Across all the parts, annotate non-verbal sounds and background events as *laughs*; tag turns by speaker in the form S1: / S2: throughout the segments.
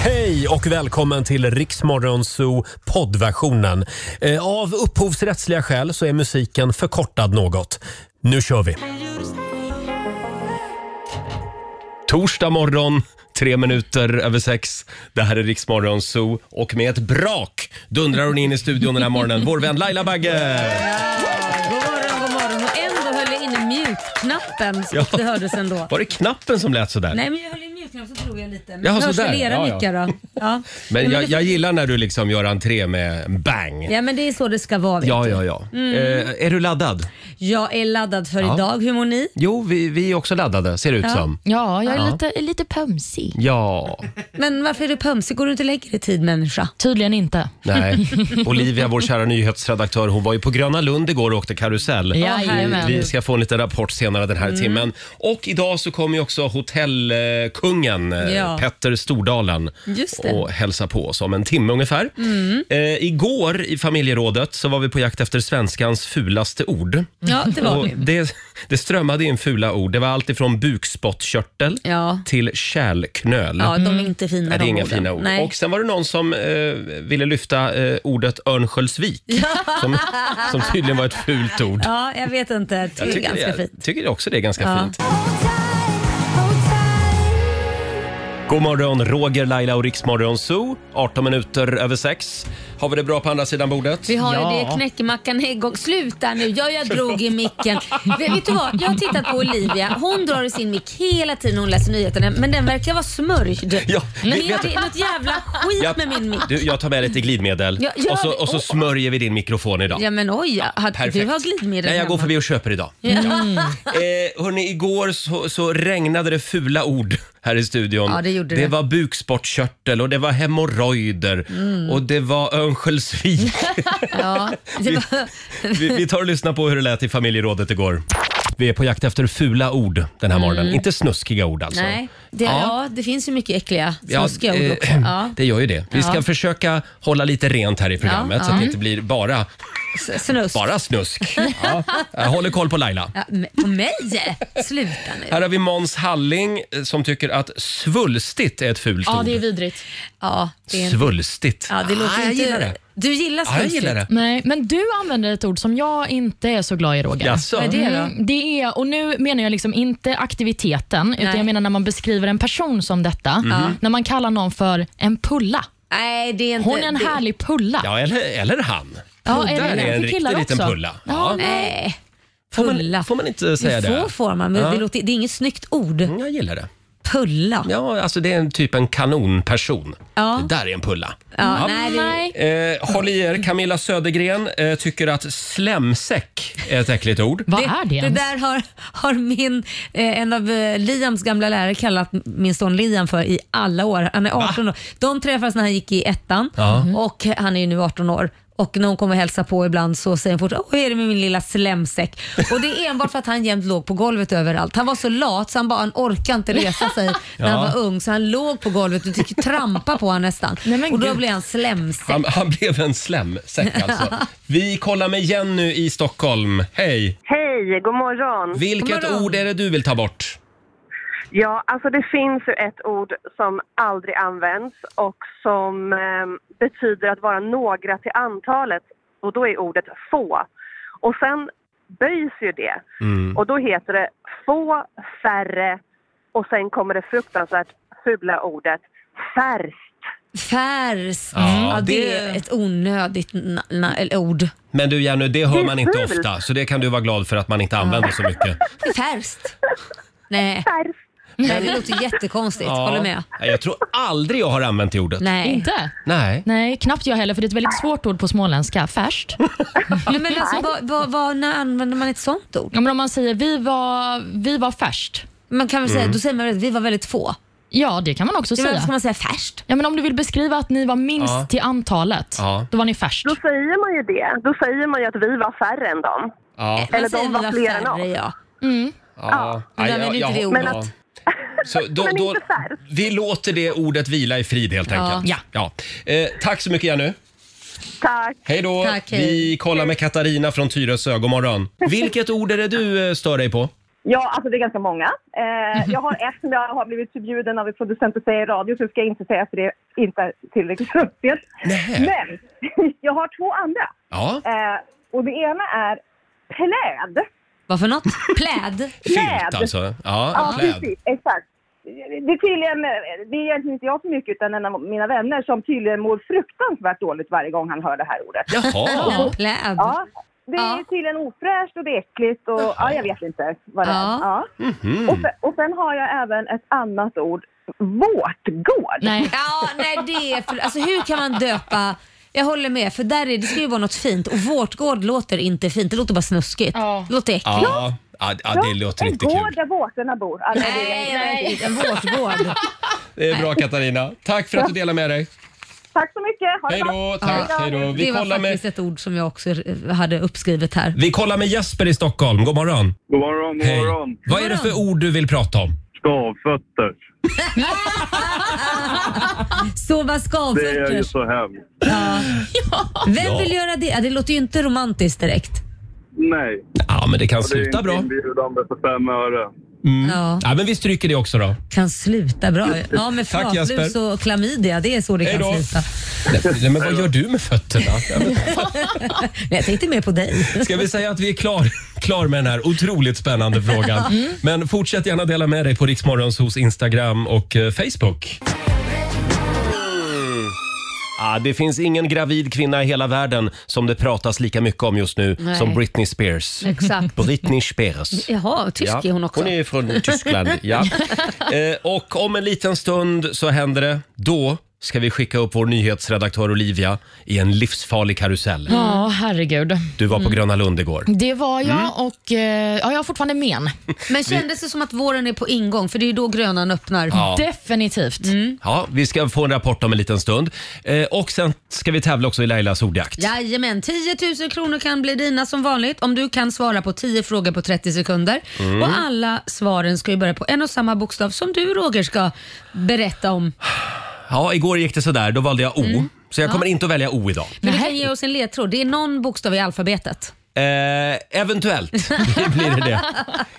S1: Hej och välkommen till Riksmorgonzoo poddversionen. Eh, Av upphovsrättsliga skäl så är musiken förkortad något. Nu kör vi! Torsdag morgon, tre minuter över sex. Det här är Riksmorgonzoo och med ett brak dundrar hon in i studion den här morgonen. Vår vän Laila Bagge!
S2: God morgon, god morgon. Och ändå höll jag inne mute-knappen så
S1: Ja.
S2: det
S1: *laughs*
S2: hördes ändå.
S1: Var det knappen som lät sådär?
S2: Nej, men jag höll i mute-knappen så drog jag lite. Men
S1: Jaha,
S2: hörs
S1: sådär.
S2: väl era
S1: Ja, ja.
S2: nickar då?
S1: *laughs*
S2: Ja. Nej,
S1: Men jag,
S2: det-
S1: jag gillar när du liksom gör entré med en bang.
S2: Ja men det är Mm. så det ska vara. vet
S1: Ja,
S2: du.
S1: ja, ja. Eh, är du laddad?
S2: Jag är laddad för
S1: Ja.
S2: idag. Hur mår ni?
S1: Jo, vi, vi är också laddade ser det ut
S2: Ja.
S1: som.
S3: Ja, jag är
S1: Ja.
S3: lite, lite pömsig.
S1: Ja,
S2: Men varför är du pömsig? Går du inte och lägger dig i tid människa?
S3: Tydligen inte.
S1: nej. Olivia, vår kära nyhetsredaktör, hon var ju på Gröna Lund igår och åkte karusell.
S3: Jajamän.
S1: Vi ska få en liten rapport senare den här
S2: Mm.
S1: timmen. Och idag så kommer ju också hotellkungen eh,
S2: Ja.
S1: Petter Stordalen
S2: Just det. Mm.
S1: och hälsa på oss om en timme ungefär. Eh, igår i familjerådet så var vi på jakt efter svenskans fulaste ord.
S2: Ja,
S1: *laughs*
S2: det var
S1: Och
S2: vi.
S1: det, det strömmade in fula ord. Det var allt ifrån bukspottkörtel
S2: Ja.
S1: till kärlknöl.
S2: Ja, de är inte fina
S1: Mm. Nej, det är
S2: de
S1: inga
S2: orden.
S1: fina ord.
S2: Nej.
S1: Och sen var det någon som eh, ville lyfta eh, ordet Örnsköldsvik. Som, som tydligen var ett fult
S2: *laughs*
S1: ord.
S2: Ja, jag vet inte. Det är ganska
S1: jag,
S2: fint.
S1: tycker också det är ganska
S2: Ja.
S1: fint. God morgon, Roger, Laila och Riksmorgon Zoo. 18 minuter över 6. Har vi det bra på andra sidan bordet?
S2: Vi har ju
S3: Ja.
S2: det, knäckemackan Häggård. Sluta nu, ja, jag drog
S1: *laughs*
S2: i micken. Vet vet du vad, jag har tittat på Olivia. Hon drar i sin mick hela tiden när hon läser nyheterna men den verkar vara smörjd.
S1: Ja,
S2: det,
S1: vet- vet
S2: det är något jävla skit
S1: Jag,
S2: med min mick.
S1: du, jag tar med lite glidmedel
S2: Ja, gör
S1: och så,
S2: det.
S1: och så
S2: Åh.
S1: smörjer vi din mikrofon idag.
S2: Ja men oj, har, du
S1: Perfekt.
S2: har glidmedel
S1: Nej, jag går
S2: hemma. Mm.
S1: förbi och köper idag. Eh, hörni, igår så, så regnade det fula ord här i studion.
S2: Ja, det gjorde det.
S1: var bukspottkörtel och det var hemorrojder
S2: Mm.
S1: och det var
S2: *laughs*
S1: Örnsköldsvik.
S2: Ja,
S1: *laughs*
S2: det var,
S1: vi, vi tar och lyssnar på hur det lät i familjerådet igår. Vi är på jakt efter fula ord den här morgonen. Inte snuskiga ord alltså.
S2: Mm. nej, det,
S1: Ja.
S2: ja. det finns ju mycket äckliga
S1: Ja,
S2: snuskiga ord
S1: eh, *clears throat*
S2: också. Ja.
S1: Det gör ju det. Vi ska
S2: Ja.
S1: försöka hålla lite rent här i programmet
S2: Ja,
S1: så
S2: ja.
S1: att det inte blir bara,
S2: S- Snusk.
S1: bara
S2: *laughs*
S1: snusk. ja. Jag håller koll på Laila.
S2: Ja, men- på mig? Sluta nu.
S1: Här har vi Måns Halling eh, som tycker att svulstigt är ett fult
S3: Ja,
S1: ord.
S3: det är vidrigt.
S2: Ja, det, är-
S1: Svulstigt.
S2: ja, det låter
S1: ah, jag
S2: inte...
S1: gillar det.
S2: Du gillar
S1: Ja,
S2: snuskigt?
S1: jag gillar det.
S3: Nej, men du använder ett ord som jag inte är så glad i, Roger.
S1: Jaså?
S2: Vad är det då?
S3: Mm, det är, och nu menar jag liksom inte aktiviteten, utan
S2: Nej.
S3: jag menar när man beskriver en person som detta.
S1: Mhm.
S3: När man kallar någon för en pulla.
S2: Nej, det är inte...
S3: Hon är en
S2: det...
S3: härlig pulla.
S1: Ja, eller, eller han.
S3: Ja, är
S1: Där
S3: det
S1: är en
S3: för
S1: riktig
S3: killar
S1: liten
S3: också?
S1: pulla. Ja.
S3: Ja, nej.
S2: Nej.
S1: Får man-
S2: Pulla.
S1: Får man inte säga
S2: Jo,
S1: det?
S2: Får, får man, men
S1: Ja.
S2: det, låter, det är inget snyggt ord.
S1: Mm, Jag gillar det.
S2: Pulla. Ja,
S1: Ja, alltså det är en typ en kanonperson.
S2: Ja.
S1: Det där är en pulla.
S2: Nej, det,
S3: Nej.
S1: Eh, håll i er, Camilla Södergren eh, tycker att slemsäck är ett äckligt ord.
S3: Vad är det,
S2: det
S3: ens?
S2: där har, har min, eh, en av eh, Liams gamla lärare kallat min son Liam för i alla år. Han är 18 år. De träffades när han gick i ettan
S1: Ja.
S3: Mm-hmm.
S2: och han är ju nu 18 år. Och när hon kommer och hälsar på ibland så säger hon fort Åh, hur är det med min lilla slemsäck? Och det är enbart för att han jämt låg på golvet överallt. Han var så lat så han bara han orkade inte resa
S3: *laughs*
S2: sig när han
S1: Ja.
S2: var ung så han låg på golvet och fick trampa på honom nästan.
S3: Nej, men
S2: och då
S3: gud.
S2: blev han slemsäck.
S1: Han, han blev en slemsäck
S2: *laughs*
S1: alltså. Vi kollar med Jenny i Stockholm. Hej!
S4: Hej, god morgon.
S1: Vilket
S2: God morgon.
S1: ord är det du vill ta bort?
S4: Ja, alltså det finns ju ett ord som aldrig används och som eh, betyder att vara några till antalet och då är ordet få. Och sen böjs ju det och då heter det få, färre och sen kommer det fruktansvärt fula ordet färskt.
S2: Färskt.
S1: Ja,
S2: Ja, det...
S1: det-
S2: är ett onödigt na- na- eller ord.
S1: Men du Jenny, det hör
S4: är
S1: man inte
S4: fult.
S1: ofta, så det kan du vara glad för att man inte använder så mycket.
S2: Det är Färskt. Nej,
S4: Färskt.
S2: nej, det låter jättekonstigt. Håller med.
S1: Nej, Jag tror aldrig jag har använt det ordet.
S2: Nej.
S3: Inte?
S1: Nej.
S3: Nej, knappt jag heller, för det är ett väldigt svårt ord på småländska. Färskt.
S2: Nej, men alltså, vad, vad, vad, när använder man ett sånt ord?
S3: Ja, men om man säger vi var, vi var färskt.
S2: Man kan väl säga, Då säger man väl att vi var väldigt få.
S3: Ja, det kan man också
S2: Ja, men
S3: säga.
S2: Varför ska man säga färskt?
S3: Ja, men om du vill beskriva att ni var minst
S1: Ja.
S3: till antalet,
S1: Ja.
S3: då var ni färskt.
S4: Då säger man ju det. Då säger man ju att vi var färre än dem.
S1: Ja.
S2: Man
S4: Eller de
S2: säger
S4: var
S2: väl
S4: fler än
S2: färre,
S4: oss.
S2: ja.
S1: ja.
S2: men jag vill inte det ordet.
S1: ja. *laughs* Så
S5: *laughs*
S1: då,
S4: Men inte
S1: då,
S4: färskt.
S1: vi låter det ordet vila i frid helt
S2: Ja.
S1: enkelt. Ja. Eh, tack så mycket Jenny.
S4: Tack.
S1: Hej då.
S2: Tack, hej.
S1: vi kollar med Katarina från Tyresö. God morgon. Vilket ord är det du eh, stör dig på?
S5: Ja, alltså det är ganska många. Eh, jag har ett som jag har blivit förbjuden av en producent att säga i radio, så det ska jag inte säga för det är inte tillräckligt rumpigt.
S1: Nej.
S5: Men *laughs* jag har två andra.
S1: Ja,
S5: Eh, och det ena är pläd.
S2: Vad för något? Pläd?
S1: filt
S5: pläd.
S1: alltså. Ja,
S5: Ja,
S1: pläd.
S5: precis. Exakt. Det är tydligen, eh, det är egentligen inte jag så mycket utan en av mina vänner som tydligen mår fruktansvärt dåligt varje gång han hör det här ordet.
S1: Jaha.
S2: En pläd?
S5: Ja, det är
S2: Ja.
S5: tydligen ofräscht och det är äckligt och ja, jag vet inte vad det
S2: Ja.
S5: är. Ja.
S1: Mhm.
S5: Och, sen, och sen har jag även ett annat ord, vårtgård.
S3: Nej.
S2: Ja, nej det är för, alltså hur kan man döpa jag håller med, för där är, det ska ju vara något fint och vårtgård låter inte fint. Det låter bara snuskigt.
S3: Ja.
S2: Det låter äckligt.
S1: Ja, ja, ja, det låter
S5: en
S1: inte
S5: gård
S1: kul.
S5: där vårtorna bor. Alltså, det är-
S2: Nej, nej, en vårtgård.
S1: Det är bra Katarina. Tack för att du delar med dig.
S5: Tack så mycket, ha det
S1: Hej
S5: bra.
S1: då, tack. Hej då. Vi
S2: det var
S1: kollar med...
S2: faktiskt ett ord som jag också eh, hade uppskrivet här.
S1: Vi kollar med Jesper i Stockholm. God morgon.
S6: God morgon, god morgon.
S1: Vad är det för ord du vill prata om?
S6: Skavfötter.
S2: Sova
S6: Det är ju
S2: skavfötter.
S6: så hemskt.
S2: Vem vill göra det? Ja, Det låter ju inte romantiskt direkt.
S6: Nej.
S1: Ja, men det kan
S6: Det är
S1: sluta
S6: inte
S1: bra.
S6: inbjudande för fem öre.
S2: Ja,
S1: Ja, men vi stryker det också då.
S2: kan sluta bra. Ja, med
S1: Mm. Tack,
S2: flatlus
S1: Jesper.
S2: och klamydia, det är så det
S1: Hej
S2: kan
S1: då.
S2: sluta.
S1: Nej, men vad gör du med fötterna? Ja, men-
S2: Nej, jag tänkte mer på dig.
S1: Ska vi säga att vi är klar, klar med den här otroligt spännande
S7: *laughs*
S1: frågan?
S7: Mm.
S1: Men fortsätt gärna dela med dig på Riksmorgons hos Instagram och eh, Facebook. Ah, det finns ingen gravid kvinna i hela världen som det pratas lika mycket om just nu
S7: Nej.
S1: som Britney Spears.
S7: Exakt.
S1: Britney Spears.
S7: Jaha, tysk är hon också.
S1: Hon är från Tyskland, ja.
S7: *laughs*
S1: Eh, och om en liten stund så händer det. Då ska vi skicka upp vår nyhetsredaktör Olivia i en livsfarlig karusell.
S3: Ja, herregud.
S1: Du var på
S7: Mm.
S1: Gröna Lund igår.
S3: Det var jag
S1: Mm.
S3: och eh, ja, jag har fortfarande men.
S2: *laughs* Men kändes det som att våren är på ingång? För det är ju då grönan öppnar.
S1: Ja.
S3: Definitivt.
S1: Ja, vi ska få en rapport om en liten stund. Eh, och sen ska vi tävla också i Lailas ordjakt.
S2: Jajamän, 10 000 kronor kan bli dina som vanligt om du kan svara på 10 frågor på 30 sekunder.
S1: Mm.
S2: Och alla svaren ska ju börja på en och samma bokstav som du Roger ska berätta om.
S1: Ja, igår gick det sådär. Då valde jag O. Så jag kommer inte att välja O idag.
S2: Men du kan ge oss en ledtråd. Det är någon bokstav i alfabetet.
S1: Eh, eventuellt *laughs* det blir det det.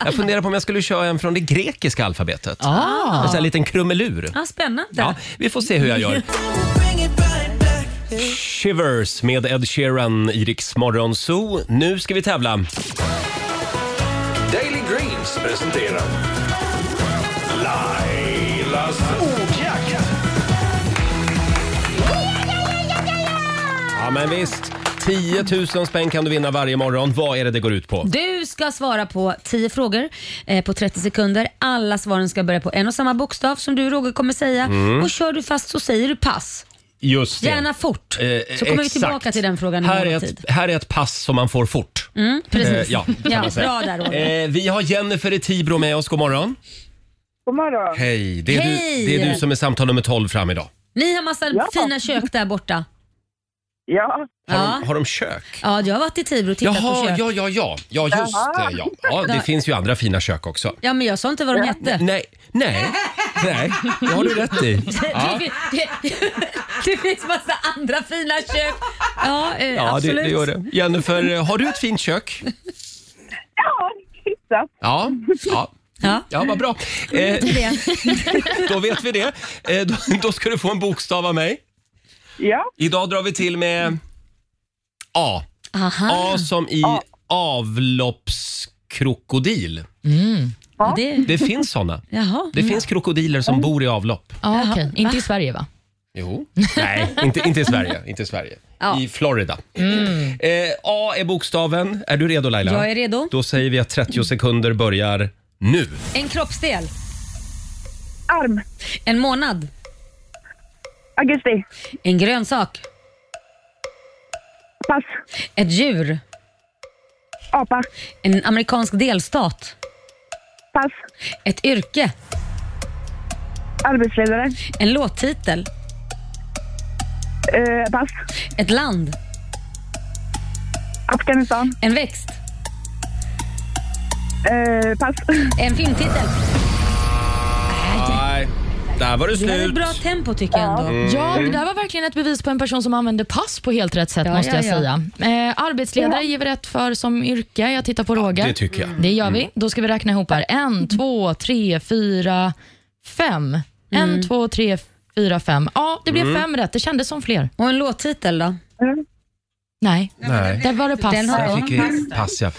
S1: Jag funderar på om jag skulle köra en från det grekiska alfabetet.
S3: Ah,
S1: En sån här liten krumelur.
S2: Ja, spännande.
S1: Ja, vi får se hur jag gör. Shivers med Ed Sheeran i Rix Morgon Zoo. Nu ska vi tävla.
S8: Daily Greens presenterar Lailas ordjakt.
S1: Ja, men visst. 10 000 spänn kan du vinna varje morgon. Vad är det det går ut på?
S2: Du ska svara på 10 frågor eh, på 30 sekunder. Alla svaren ska börja på en och samma bokstav som du Roger kommer säga.
S1: Mm.
S2: Och kör du fast så säger du pass.
S1: Just det.
S2: Gärna fort.
S1: Eh,
S2: så kommer vi
S1: exakt.
S2: tillbaka till den frågan i
S1: här
S2: morgon
S1: är,
S2: tid. Mm.
S1: ett, här är ett pass som man får fort.
S2: Precis.
S1: Eh, ja, kan
S2: Ja,
S1: man säga.
S2: bra där, Roger.
S1: eh, vi har Jennifer i Tibro med oss. God morgon.
S5: God morgon.
S1: Hej. Det är,
S2: Hej.
S1: Du, det är du som är samtal nummer 12 fram idag.
S2: Ni har massa
S5: Ja.
S2: fina kök där borta.
S5: Ja,
S1: Har,
S2: Ja.
S1: de, har de kök?
S2: Ja, jag har varit i Tibro och tittat på
S1: Jaha,
S2: kök.
S1: ja, ja, ja. Ja, just det. Ja. Ja, det
S2: Ja.
S1: finns ju andra fina kök också.
S2: Ja, men jag sa inte vad de hette.
S1: Nej, nej,
S2: *laughs*
S1: nej. Det har du rätt i. Ja.
S2: Det, fin- det, *laughs* det finns massa andra fina kök. Ja, eh,
S1: Ja, det,
S2: absolut.
S1: det gör det. Jennifer, eh, har du ett fint kök?
S5: ja hyfsat.
S1: Ja. ja.
S2: Ja.
S1: Ja, vad bra. Eh,
S2: det.
S1: *laughs* då vet vi det. Eh, då, då ska du få en bokstav av mig.
S5: Ja,
S1: Idag drar vi till med A.
S2: Aha,
S1: A som i avloppskrokodil.
S2: det, *laughs*
S1: Det finns såna.
S2: jaha.
S1: Det finns krokodiler som bor i avlopp.
S3: Ja, okej. Inte i Sverige va?
S1: Jo. Nej, inte, inte i Sverige. Inte i, Sverige.
S2: Ja. Mm.
S1: I Florida. Eh, A är bokstaven. Är du redo Laila?
S2: Jag är redo.
S1: Då säger vi att 30 sekunder börjar nu.
S2: En kroppsdel.
S5: arm.
S2: En månad.
S5: Augusti.
S2: En grönsak.
S5: Pass.
S2: Ett djur.
S5: Apa.
S2: En amerikansk delstat.
S5: Pass.
S2: Ett yrke.
S5: Arbetsledare.
S2: En låttitel.
S5: Eh, pass.
S2: Ett land.
S5: Afghanistan.
S2: En växt.
S5: Eh, pass. *laughs*
S2: En filmtitel.
S1: Nej, Där var det
S2: Vi hade ett
S1: slut.
S2: bra tempo tycker jag ändå.
S1: Mm.
S3: Ja, men det här var verkligen ett bevis på en person som använder pass på helt rätt sätt
S2: Ja,
S3: måste
S2: ja,
S3: jag
S2: ja.
S3: säga. Eh, arbetsledare ger vi rätt för som yrke. Jag tittar på Roger.
S1: det tycker jag. Mm.
S3: Det gör vi. Då ska vi räkna ihop här. En, två, tre, fyra, fem. En, två, tre, fyra, fem. Ja, det blev
S1: Mm.
S3: fem rätt. Det kändes som fler.
S2: Och en låttitel då?
S3: Nej,
S1: Nej.
S3: där var det pass.
S2: Den har
S1: Där
S2: jag.
S1: fick vi pass, ja.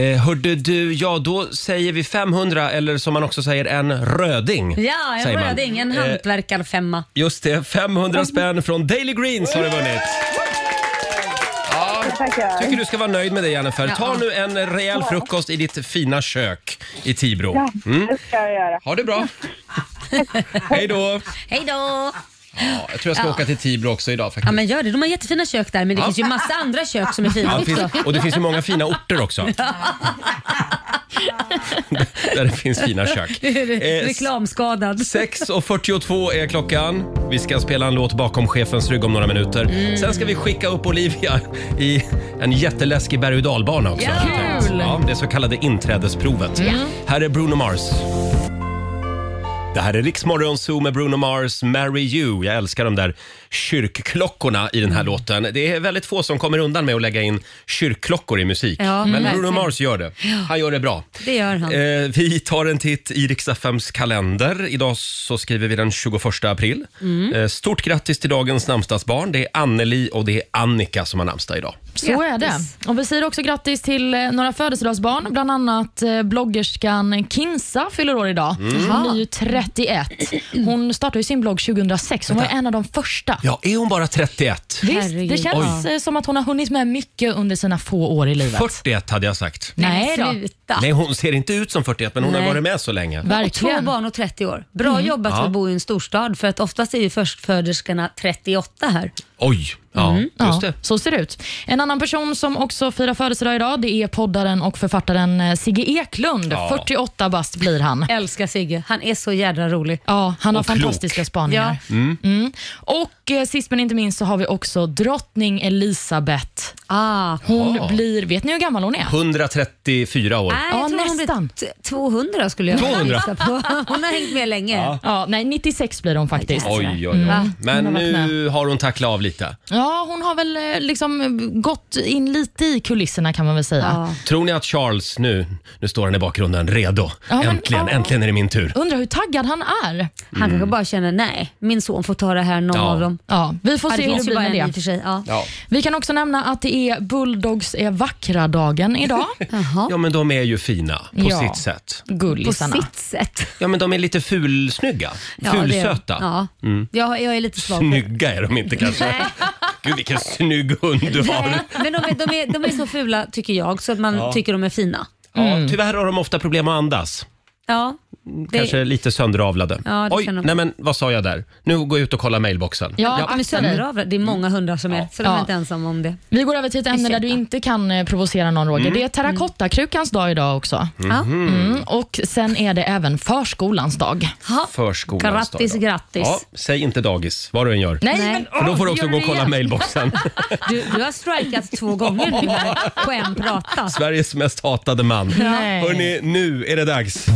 S1: Eh, hörde du, ja då säger vi 500 eller som man också säger en röding.
S2: Ja, en
S1: säger man.
S2: röding, en
S1: Eh,
S2: hantverkarfemma.
S1: Just det, 500 spänn från Daily Greens har du vunnit. Ja, tycker du ska vara nöjd med det Jennifer. Ta nu en rejäl frukost i ditt fina kök i Tibro. Mm.
S5: Det ska jag göra.
S1: Ha det
S2: *laughs*
S1: bra. Hej då.
S2: Hej då!
S1: Ja, jag tror jag ska åka till Tibro också idag faktiskt.
S2: Ja men gör det, de har jättefina kök där men det finns ju massa andra kök som är
S1: Ja,
S2: fina
S1: det
S2: också. *laughs*
S1: finns, och det finns ju många fina orter också. *laughs* Där det finns fina kök. Eh,
S2: Reklamskadad.
S1: 6.42 är klockan. Vi ska spela en låt bakom chefens rygg om några minuter.
S2: Mm.
S1: Sen ska vi skicka upp Olivia i en jätteläskig berg och dalbana också. har vi tänkt. Ja, det så kallade inträdesprovet. Här är Bruno Mars. Det här är Riksmorgon Zoo med Bruno Mars, Marry You. Jag älskar de där kyrkklockorna i den
S2: Mm.
S1: här låten. Det är väldigt få som kommer undan med att lägga in kyrkklockor i musik.
S2: Ja,
S1: Men Bruno
S2: verkligen.
S1: Mars gör det. Han gör det bra.
S2: Det gör han.
S1: Eh, vi tar en titt i Riks-FMs kalender. Idag så skriver vi den 21 april.
S3: Mm.
S1: Eh, stort grattis till dagens namnsdagsbarn. Det är Anneli och det är Annika som har namnsdag idag.
S3: Så är det.
S2: Grattis.
S3: Och vi säger också grattis till eh, några födelsedagsbarn, bland annat eh, bloggerskan Kinsa fyller år idag.
S1: Mm.
S3: Hon är ju 31. Hon startade ju sin blogg 2006, hon var ju en av de första.
S1: Ja, är hon bara 31?
S3: Visst,
S2: Herregud.
S3: det känns eh, som att hon har hunnit med mycket under sina få år i livet.
S1: 41 hade jag sagt.
S3: Nej då.
S2: Sluta.
S1: Nej, hon ser inte ut som 41 men hon har
S2: Nej.
S1: varit med så länge.
S3: Mm.
S2: Och två
S3: Verkligen.
S2: barn och 30 år. Bra jobbat för
S1: Ja.
S2: att bo i en storstad för att oftast är ju förstföderskorna 38 här.
S1: Oj! Ja, just
S3: Mm. Ja,
S1: det.
S3: så ser det ut. En annan person som också firar födelsedag idag det är poddaren och författaren eh, Sigge Eklund.
S1: Ja.
S3: 48 bast blir han.
S2: Älskar Sigge, han är så jädra rolig.
S3: Ja, han har
S1: Och klok.
S3: fantastiska spaningar. Mm. Och eh, sist men inte minst så har vi också drottning Elisabeth.
S2: Ah,
S3: Hon
S1: Ja.
S3: blir, vet ni hur gammal hon är?
S1: 134 år.
S2: Nej,
S3: Ja,
S2: jag tror hon
S3: nästan.
S2: blir t- 200 skulle jag
S1: 200.
S2: gissa på. *laughs* Hon har hängt med länge.
S3: Ja, nej, 96 blir hon faktiskt.
S1: Oj, oj, oj. Men
S3: Hon har varit
S1: nu har hon tacklat av lite.
S3: Ja, hon har väl eh, liksom eh, gått in lite i kulisserna kan man väl säga.
S2: Ja.
S1: Tror ni att Charles nu, nu står han i bakgrunden redo.
S3: Ja, men-
S1: äntligen,
S3: ja.
S1: äntligen är det min tur.
S3: Undrar hur taggad han är.
S2: Han kanske bara känner, nej, min son får ta det här, någon
S1: Ja.
S2: av dem.
S3: Ja, vi får
S2: Ja, det
S3: se hur det
S2: finns ju
S3: blir
S2: bara
S3: med
S2: en i
S3: det.
S2: och för sig. Ja.
S1: Ja.
S3: Vi kan också nämna att det är Bulldogs är vackra-dagen idag.
S1: ja, men de är ju fina på
S3: Ja.
S1: sitt sätt.
S2: På
S3: Gullisarna.
S2: sitt sätt.
S1: Ja, men de är lite fulsnygga.
S2: Ja,
S1: Fulsöta.
S2: Det, ja. jag, jag är lite svag för
S1: Snygga är de inte kanske.
S2: Nej.
S1: Gud, vilken snygg hund du har.
S2: Nej, men de är, de, är, de är så fula tycker jag så att man tycker de är fina.
S1: Ja, tyvärr har de ofta problem att andas.
S2: Ja, Mm. det,
S1: Kanske lite sönderavlade.
S2: Ja, det
S1: Oj,
S2: kan de-
S1: nej men vad sa jag där? Nu går jag ut och kollar mailboxen.
S3: Ja,
S2: de är
S3: akta dig.
S2: sönderavlade. Det är många hundar som är så de är
S3: Ja.
S2: inte ensamma om det.
S3: Vi går över till ett ämne där du inte kan eh, provocera någon
S1: Mm.
S3: Roger. Det är terrakottakrukans dag idag också.
S2: Ja.
S1: Mm-hmm.
S3: Mm. Och sen är det även förskolans dag.
S2: Ha.
S1: Förskolans dag
S2: Grattis,
S1: idag.
S2: grattis.
S1: Ja, säg inte dagis, vad du än gör.
S3: Nej,
S2: Nej.
S3: men
S1: För då får du
S3: åh,
S1: också
S3: gör
S1: gå och kolla
S2: *laughs*
S3: igen.
S1: mailboxen.
S2: Du, du har strikat två gånger nu här på en prata.
S1: Sveriges mest hatade man.
S3: Nej.
S1: Hörni, nu är det dags.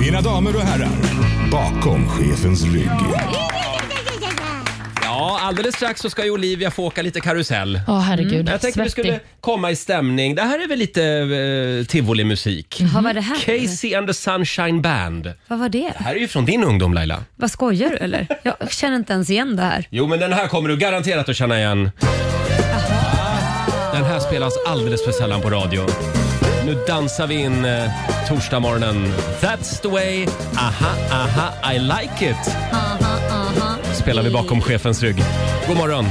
S8: Mina damer och herrar, bakom chefens rygg.
S1: Ja, alldeles strax så ska ju Olivia få åka lite karusell.
S3: Åh herregud,
S1: Mm. Jag tänkte vi
S3: svettig.
S1: skulle komma i stämning. Det här är väl lite eh, tivolimusik?
S2: Vad var det här?
S1: Casey and the Sunshine Band. Det
S2: Vad var det?
S1: här är ju från din ungdom Laila.
S2: Vad skojar du eller? Jag känner inte ens igen det här.
S1: Jo, men den här kommer du garanterat att känna igen. Den här spelas alldeles för sällan på radio. Nu dansar vi in eh, torsdagsmorgonen. That's the way, aha, aha, I like it. Spelar vi bakom chefens rygg. God morgon.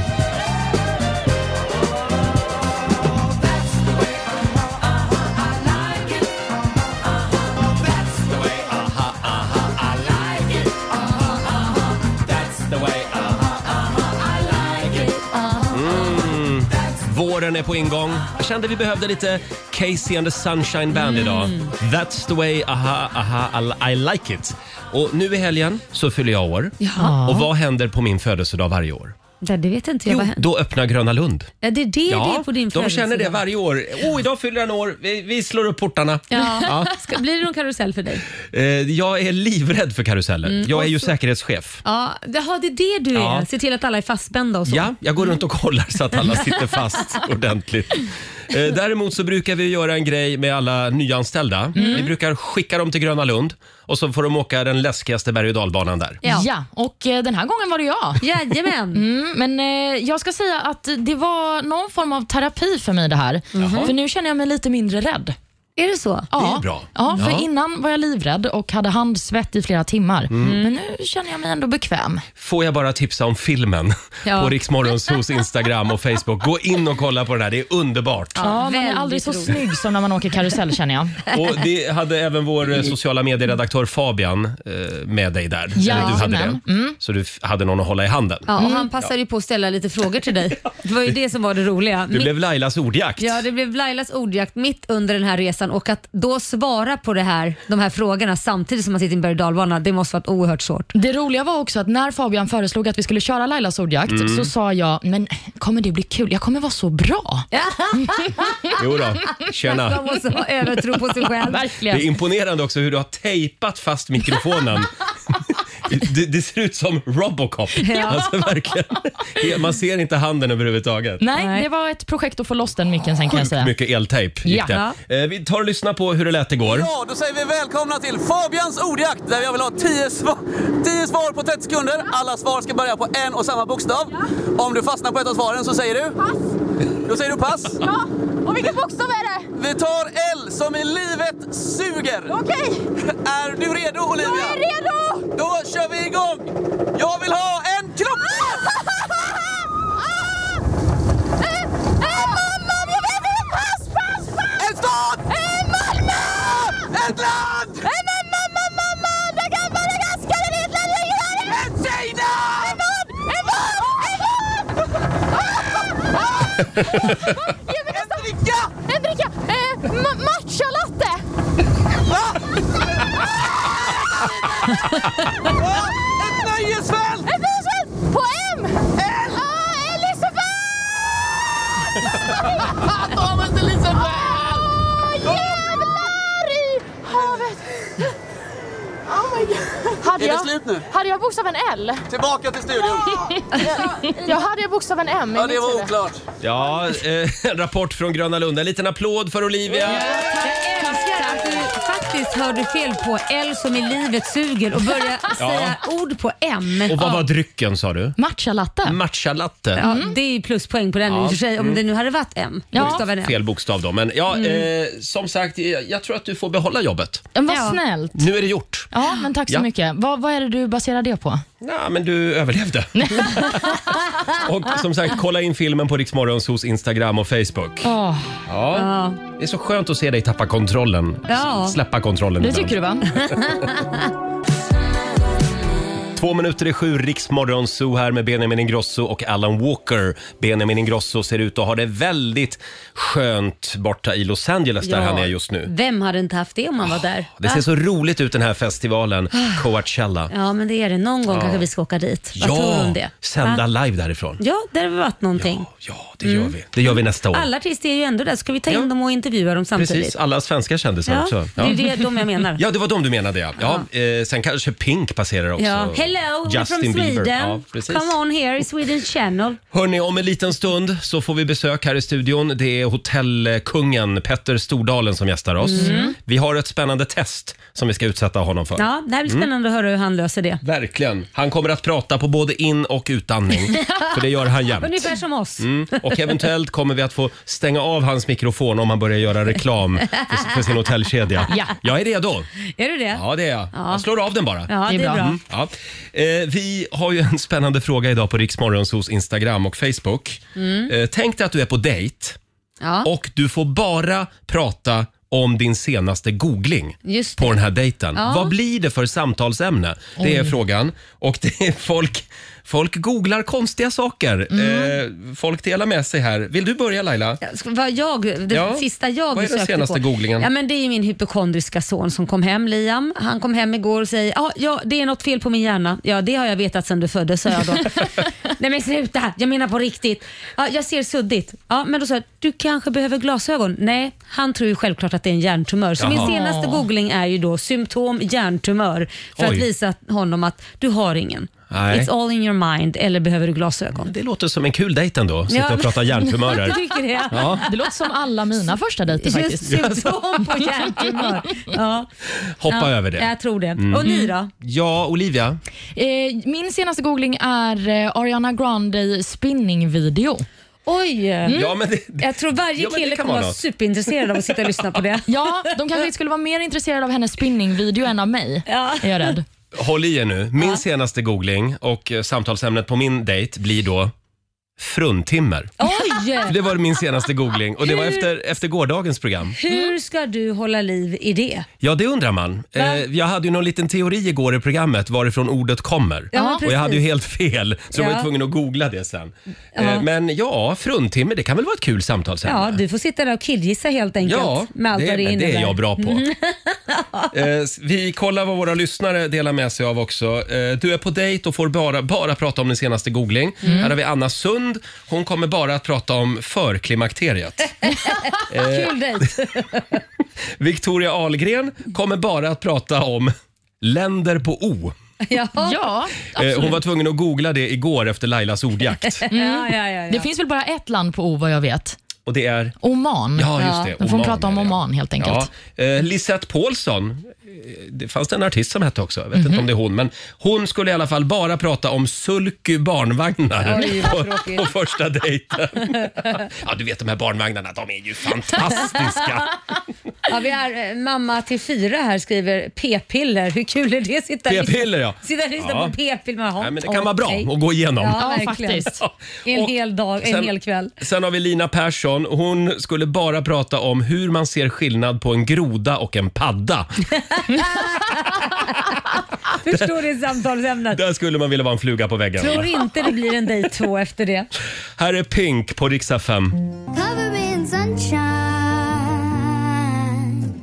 S1: Våren är på ingång. Jag kände vi behövde lite Casey and the Sunshine Band idag. That's the way, aha, aha, I- I like it. Och nu i helgen så fyller jag år. Och vad händer på min födelsedag varje år?
S2: Det, det vet inte jag.
S1: Jo,
S2: vad händer.
S1: då öppnar Gröna Lund.
S2: Ja, det är det det är på din
S1: de känner det
S2: födelsedag.
S1: varje år. Oh, idag fyller han år. Vi, vi slår upp portarna.
S2: Ja.
S1: Ja.
S2: Ska, blir det någon karusell för dig?
S1: Eh, jag är livrädd för karuseller.
S2: Mm.
S1: jag är ju säkerhetschef.
S2: Ja, jaha, det är det du är.
S1: Ja.
S2: Se till att alla är fastspända och så.
S1: Ja, jag går runt och kollar så att alla sitter
S2: *laughs*
S1: fast ordentligt. Eh, Däremot så brukar vi göra en grej med alla nyanställda.
S2: Mm.
S1: Vi brukar skicka dem till Gröna Lund och så får de åka den läskigaste berg och dalbanan där.
S2: Ja.
S3: Ja. och eh, den här gången var det jag.
S2: Jajamän.
S3: Mm, men eh, jag ska säga att det var någon form av terapi för mig det här. För nu känner jag mig lite mindre rädd.
S2: Är det så?
S3: Ja.
S1: Mm-hmm. är bra.
S3: Ja, för
S1: Ja.
S3: innan var jag livrädd och hade handsvett i flera timmar.
S1: Mm.
S3: Men nu känner jag mig ändå bekväm.
S1: Får jag bara tipsa om filmen *laughs*
S2: Ja.
S1: på Riksmorgonsos Instagram och Facebook. Gå in och kolla på den här, det är underbart.
S3: Ja, man är
S2: väldigt
S3: aldrig så
S2: roligt.
S3: snygg som när man åker karusell
S1: *laughs*
S3: känner jag.
S1: Och det hade även vår
S2: Mm.
S1: eh, sociala medieredaktör Fabian eh, med dig där.
S3: Ja,
S1: Eller du hade
S3: jajamän.
S1: det. Så du f- hade någon att hålla i handen.
S2: Mm. Ja, och han passade ju på att ställa lite frågor till dig. Det var ju det som var det roliga.
S1: Mm. Det
S2: Mitt-
S1: blev Lailas ordjakt.
S2: Ja, det blev Lailas ordjakt mitt under den här resan och att då svara på det här, de här frågorna samtidigt som man sitter i en berg och dalbana, det måste varit oerhört svårt.
S3: Det roliga var också att när Fabian föreslog att vi skulle köra Lailas ordjakt
S1: Mm.
S3: så sa jag, men kommer det bli kul? Jag kommer vara så bra.
S1: Jo då. tjena.
S2: Man måste ha övertro på
S1: *laughs*
S2: sig själv.
S1: Det är
S3: Verkligen.
S1: imponerande också hur du har tejpat fast
S3: *laughs*
S1: mikrofonen. Det, det ser ut som Robocop. Alltså, verkligen. Man ser inte handen överhuvudtaget.
S3: Nej,
S2: Nej.
S3: det var ett projekt att få loss den micken sen kan jag säga.
S1: Mycket eltejp gick
S3: Ja.
S1: det. Eh, Vi tar och lyssnar på hur det lät igår.
S7: Ja, då säger vi välkomna till Fabians ordjakt där jag vill ha 10 svar, 10 svar på 30 sekunder. Alla svar ska börja på en och samma bokstav. Om du fastnar på ett av svaren så säger du? Pass. Då säger du pass.
S9: Ja, och vilken bokstav är det?
S7: Vi tar L som i livet suger.
S9: Okej,
S7: Är du redo Olivia?
S9: jag är redo!
S7: Då kör vi igång! Jag vill ha en kropp!
S9: Ah! Äh, äh, Ah! mamma, jag vet inte! Pass, pass, pass!
S7: En stad!
S9: Äh, Malmö!
S7: Ett land!
S9: Äh, men mamma, mamma! Maga- Madagaskar är det ett land längre där!
S7: En sida!
S9: En vad? En vad? En vad? Ah, ah, ah. Ge mig nästa.
S7: En dricka!
S9: En dricka! Eh, ma- matcha latte!
S7: Va? Va? Ett nöjesfält!
S9: En bisvält! På M! L!
S7: *laughs*
S9: Ah, Elisabeth! Ta mig till Elisabeth! Åh, jävlar i havet! Oh my god. Hade
S7: Är det
S9: jag,
S7: slut nu?
S9: hade jag bokstaven L?
S7: Tillbaka till studion.
S9: Jag hade jag bokstaven M i
S7: Ja, det
S9: mitt
S7: var
S9: huvud.
S7: oklart.
S1: Ja, eh, en rapport från Gröna Lund. En liten applåd för Olivia.
S2: Jag älskar att du faktiskt hörde fel på L som i livet suger och
S1: *laughs*
S2: började säga ord på M.
S1: Och vad var Mm. drycken sa du?
S3: Matcha latte.
S1: Matcha latte.
S2: Ja, Det är ju pluspoäng på den i och för sig, om det nu hade varit M.
S3: Ja. Mm.
S2: Bokstaven M.
S1: Mm. Fel bokstav då. Men ja, eh, som sagt, jag, jag tror att du får behålla jobbet.
S3: Men Vad
S2: Ja.
S3: snällt.
S1: Nu är det gjort.
S3: Ja, men tack så
S1: Ja.
S3: mycket. Vad, vad är det du baserar det på?
S1: Nej, men du
S3: *laughs*
S1: överlevde. och som sagt, kolla in filmen på Riksmorgons hos Instagram och Facebook.
S3: Åh,
S1: Ja. Det är så skönt att se dig tappa kontrollen.
S2: Ja.
S1: S- Släppa kontrollen.
S3: det
S1: ibland.
S3: tycker du va?
S1: Två minuter i sju, Riksmorgon Zoo här med Benjamin Ingrosso och Alan Walker. Benjamin Ingrosso ser ut att ha det väldigt skönt borta i Los Angeles där
S2: Ja.
S1: han är just
S3: Mm.
S1: nu.
S2: Vem hade inte haft det om man var där?
S1: Ah, Det ser så roligt ut den här festivalen,
S3: Ah.
S1: Coachella.
S2: Ja, men det är det. Någon gång kanske vi ska åka dit. Vad tror du om det?
S1: sända
S2: Va?
S1: live därifrån.
S2: Ja, det har väl varit någonting.
S1: Ja, ja, det gör vi. Det gör vi nästa år.
S2: Alla artister är ju ändå där. Ska vi ta in
S1: Ja.
S2: dem och intervjua dem samtidigt?
S1: Precis, alla svenska kändisar
S2: Ja,
S1: också.
S2: det är det de
S1: *laughs*
S2: jag menar.
S1: Ja, det var de du menade ja. ja. Eh, sen kanske Pink passerar också.
S2: Ja. Hello, we're from
S1: Justin Bieber.
S2: Sweden.
S1: Ja, precis.
S2: Come on here, Sweden Channel.
S1: Hörni, om en liten stund så får vi besök här i studion. Det är hotellkungen Petter Stordalen som gästar oss. Vi har ett spännande test som vi ska utsätta honom för.
S2: Mm. Ja, det här
S1: Mm.
S2: blir spännande att höra hur han löser det.
S1: Verkligen. Han kommer att prata på både in och utandning,
S2: *laughs*
S1: för det gör han jämt.
S2: Ungefär som oss.
S1: Mm. Och eventuellt kommer vi att få stänga av hans mikrofon om han börjar göra reklam för, för sin hotellkedja.
S3: Ja.
S1: Jag är redo.
S2: Är du det?
S1: Ja, det är jag. Jag slår av den bara.
S2: Ja, det är bra.
S1: Mm, ja. Eh, vi har ju en spännande fråga idag på Riksmorgonsos Instagram och Facebook. Eh, tänk dig att du är på dejt
S2: Ja.
S1: och du får bara prata om din senaste googling
S2: Just det.
S1: på den här dejten.
S2: Ja.
S1: Vad blir det för samtalsämne? Det är frågan. Och det är folk, folk googlar konstiga saker.
S2: Mm.
S1: Eh, folk delar med sig här. Vill du börja Laila?
S2: Ska- Vad jag, det
S1: Ja.
S2: sista jag
S1: Vad är den
S2: sökte
S1: senaste
S2: på.
S1: googlingen?
S2: Ja, men det är ju min hypokondriska son som kom hem, Liam.
S1: *laughs*
S2: Han kom hem igår och säger ah, ja, det är något fel på min hjärna. Ja, det har jag vetat sedan du föddes, sa jag då. Nej men sluta, jag menar på riktigt. Ja, jag ser suddigt. Ja, men då sa jag, du kanske behöver glasögon? Nej, han tror ju självklart att det är en hjärntumör. Så
S1: Jaha.
S2: min senaste googling är ju då symptom hjärntumör för att
S1: Oj.
S2: visa honom att du har ingen.
S1: Nej.
S2: It's all in your mind, eller behöver du glasögon?
S1: Det låter som en kul dejt ändå, sitta
S2: Ja.
S1: och prata hjärntumörer.
S2: *laughs* Jag tycker det.
S1: Ja.
S3: *laughs* Det låter som alla mina första dejter
S2: Just
S3: faktiskt.
S2: symptom på hjärntumör. Ja.
S1: Hoppa
S2: ja, Mm.
S1: över det. Mm.
S2: Jag tror det. Och ni då?
S1: Ja, Olivia.
S3: Eh, min senaste googling är eh, Ariana Grande spinningvideo.
S2: Oj!
S1: Ja, men det,
S2: Jag tror varje
S1: Mm. Ja, men det
S2: kille
S1: kan
S2: kommer
S1: vara
S2: vara
S1: något.
S2: superintresserad av att sitta och lyssna
S1: *laughs*
S2: på det.
S3: Ja, de kanske skulle vara mer intresserade av hennes spinningvideo än av mig.
S2: Ja.
S3: Är jag rädd.
S1: håll i er nu. Min senaste googling och eh, samtalsämnet på min dejt blir då fruntimmer.
S2: Oj!
S1: Det var min senaste googling och det var efter, efter gårdagens program.
S2: Hur ska du hålla liv i det?
S1: Ja, det undrar man. Eh, jag hade ju någon liten teori igår i programmet varifrån ordet kommer.
S2: Ja, men
S1: och jag
S2: precis.
S1: hade ju helt fel, så jag var
S2: Ja.
S1: ju tvungen att googla det sen. Eh, men ja, fruntimmer, det kan väl vara ett kul samtalsämne?
S2: Ja, du får sitta där och killgissa helt enkelt.
S1: Ja,
S2: med allt
S1: det,
S2: vad det
S1: men det är
S2: innebär.
S1: jag bra på. *laughs* Eh, vi kollar vad våra lyssnare delar med sig av också. Eh, du är på dejt och får bara, bara prata om din senaste googling. Här har vi Anna Sund. Hon kommer bara att prata om förklimakteriet.
S2: Kul
S1: Eh.
S2: dejt. *laughs*
S1: Victoria Ahlgren kommer bara att prata om länder på O.
S2: Ja. *laughs* Ja.
S3: Ja,
S1: Eh,
S3: absolut.
S1: hon var tvungen att googla det igår efter Lailas ordjakt.
S2: Ja, ja, ja,
S3: Det finns väl bara ett land på O vad jag vet.
S1: Och det är...
S3: Oman.
S1: Ja, just det.
S3: Då får hon prata om
S1: är det, ja.
S3: Oman helt enkelt.
S1: Ja. Eh, Lisette Paulsson, eh, det fanns det en artist som hette också, jag vet inte
S2: Mhm.
S1: om det är hon, men hon skulle i alla fall bara prata om sulky barnvagnar
S2: Oj, vad
S1: på,
S2: tråkigt.
S1: på första dejten. ja, du vet de här barnvagnarna, de är ju fantastiska.
S2: vi är eh, mamma till fyra här skriver p-piller. Hur kul är det? att Sitta och lyssna-
S1: P-piller ja.
S2: Sitta och lyssna
S1: Ja.
S2: på p-piller. Jaha,
S1: Nej, men det kan vara
S2: okej.
S1: bra att gå igenom.
S2: Ja,
S3: Ja,
S2: verkligen.
S3: faktiskt.
S2: En
S1: Och
S2: hel dag, en
S1: sen-
S2: hel kväll.
S1: Sen har vi Lina Persson. Hon skulle bara prata om hur man ser skillnad på en groda och en
S2: *laughs*
S1: padda.
S2: Förstår det samtalsämnet.
S1: Där skulle man vilja vara en fluga på väggen.
S2: Tror inte det blir en dejt två efter det.
S1: Här är Pink på riksdag 5.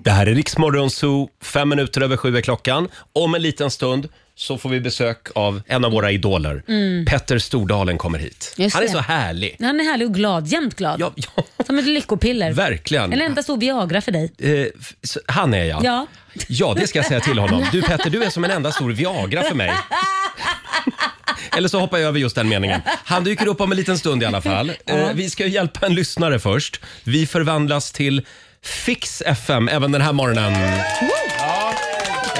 S1: Det här är Riksmorgon Zoo, fem minuter över sju är klockan. Om en liten stund så får vi besök av en av våra idoler. Petter Stordalen kommer hit.
S2: Mm. Just
S1: Han är
S2: det.
S1: så härlig.
S2: Han är härlig och glad, jämt glad.
S1: Ja, ja, *laughs*
S2: Som ett lyckopiller.
S1: verkligen.
S2: En enda stor Viagra för dig.
S1: Eh, f- så- han är jag.
S2: Ja.
S1: ja, det ska jag säga till honom. Du Petter, du är som en enda stor Viagra för mig. Eller så hoppar jag över just den meningen. Han dyker upp om en liten stund i alla fall. Eh, vi ska ju hjälpa en lyssnare först. Vi förvandlas till Fix FM även den här morgonen. Ja.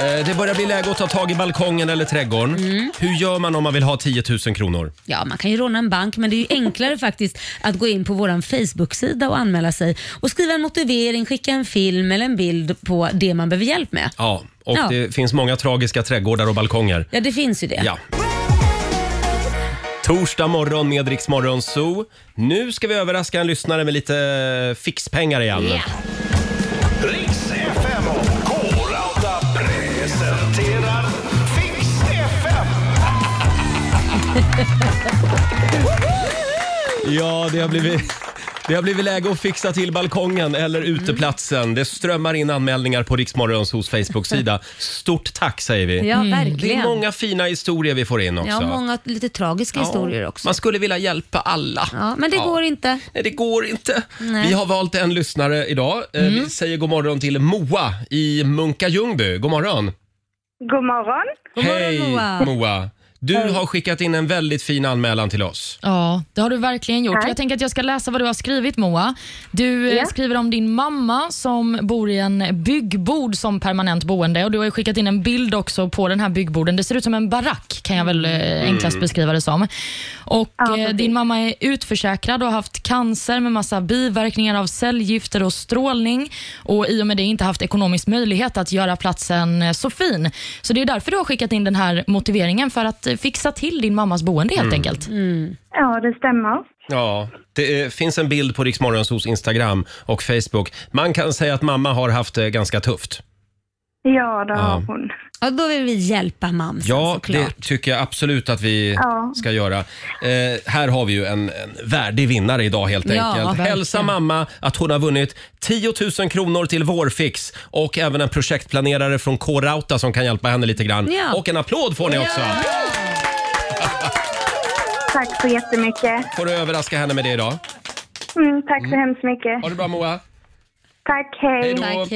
S1: Eh, Det börjar bli läge att ta tag i balkongen eller trädgården. Hur gör man om man vill ha 10 000 kronor?
S2: Ja, man kan ju råna en bank, men det är ju enklare faktiskt att gå in på vår Facebook-sida och anmäla sig och skriva en motivering, skicka en film eller en bild på det man behöver hjälp med.
S1: Ja, och
S2: Ja.
S1: det finns många tragiska trädgårdar och balkonger.
S2: Ja, det finns ju det.
S1: Ja. Torsdag morgon med Rix Morgon Zoo. Nu ska vi överraska en lyssnare med lite eh, fixpengar igen.
S8: Riks FM och K-Rauta presenterar Fix FM.
S1: Ja, det har blivit... Det har blivit läge att fixa till balkongen eller
S2: Mm.
S1: uteplatsen. Det strömmar in anmälningar på Riksmorgons hos Facebook-sida. Stort tack säger vi.
S2: Ja,
S1: Det
S2: verkligen.
S1: är många fina historier vi får in också.
S2: Mm. ja, många lite tragiska historier också.
S1: Man skulle vilja hjälpa alla.
S2: Ja, men det
S1: Ja.
S2: går inte.
S1: Nej, det går inte.
S2: Nej. Mm.
S1: Vi har valt en lyssnare idag. Eh, Vi säger god morgon till Moa i Munka Ljungby. God morgon.
S5: God morgon.
S2: God morgon, Moa.
S1: Du har skickat in en väldigt fin anmälan till oss.
S3: Ja, det har du verkligen gjort. Jag tänker att jag ska läsa vad du har skrivit Moa. Du eh, skriver om din mamma som bor i en byggbod som permanent boende och du har ju skickat in en bild också på den här byggboden. Det ser ut som en barack kan jag väl eh, enklast beskriva det som. Och eh, din mamma är utförsäkrad och har haft cancer med massa biverkningar av cellgifter och strålning och i och med det inte haft ekonomisk möjlighet att göra platsen eh, så fin. Så det är därför du har skickat in den här motiveringen för att eh, fixa till din mammas boende helt enkelt.
S5: Ja, det stämmer.
S1: Ja, det eh, finns en bild på Riksmorgons hos Instagram och Facebook. Man kan säga att mamma har haft det ganska tufft.
S5: Ja, det
S1: har
S5: har
S1: Ja.
S5: hon.
S2: Ja, då vill vi hjälpa mamsen
S1: Ja,
S2: såklart.
S1: det tycker jag absolut att vi
S5: Ja.
S1: ska göra. Eh, här har vi ju en, en värdig vinnare idag helt
S2: Ja,
S1: enkelt.
S2: verkligen.
S1: Hälsa mamma att hon har vunnit 10 000 kronor till Vårfix och även en projektplanerare från K-Rauta som kan hjälpa henne lite grann.
S2: Ja.
S1: Och en applåd får ni också!
S10: Tack så jättemycket.
S1: Får du överraska henne med det idag.
S10: Mm, tack så hemskt mycket.
S1: Ha det bra Moa.
S10: Tack, hej.
S1: Hej då. Tack,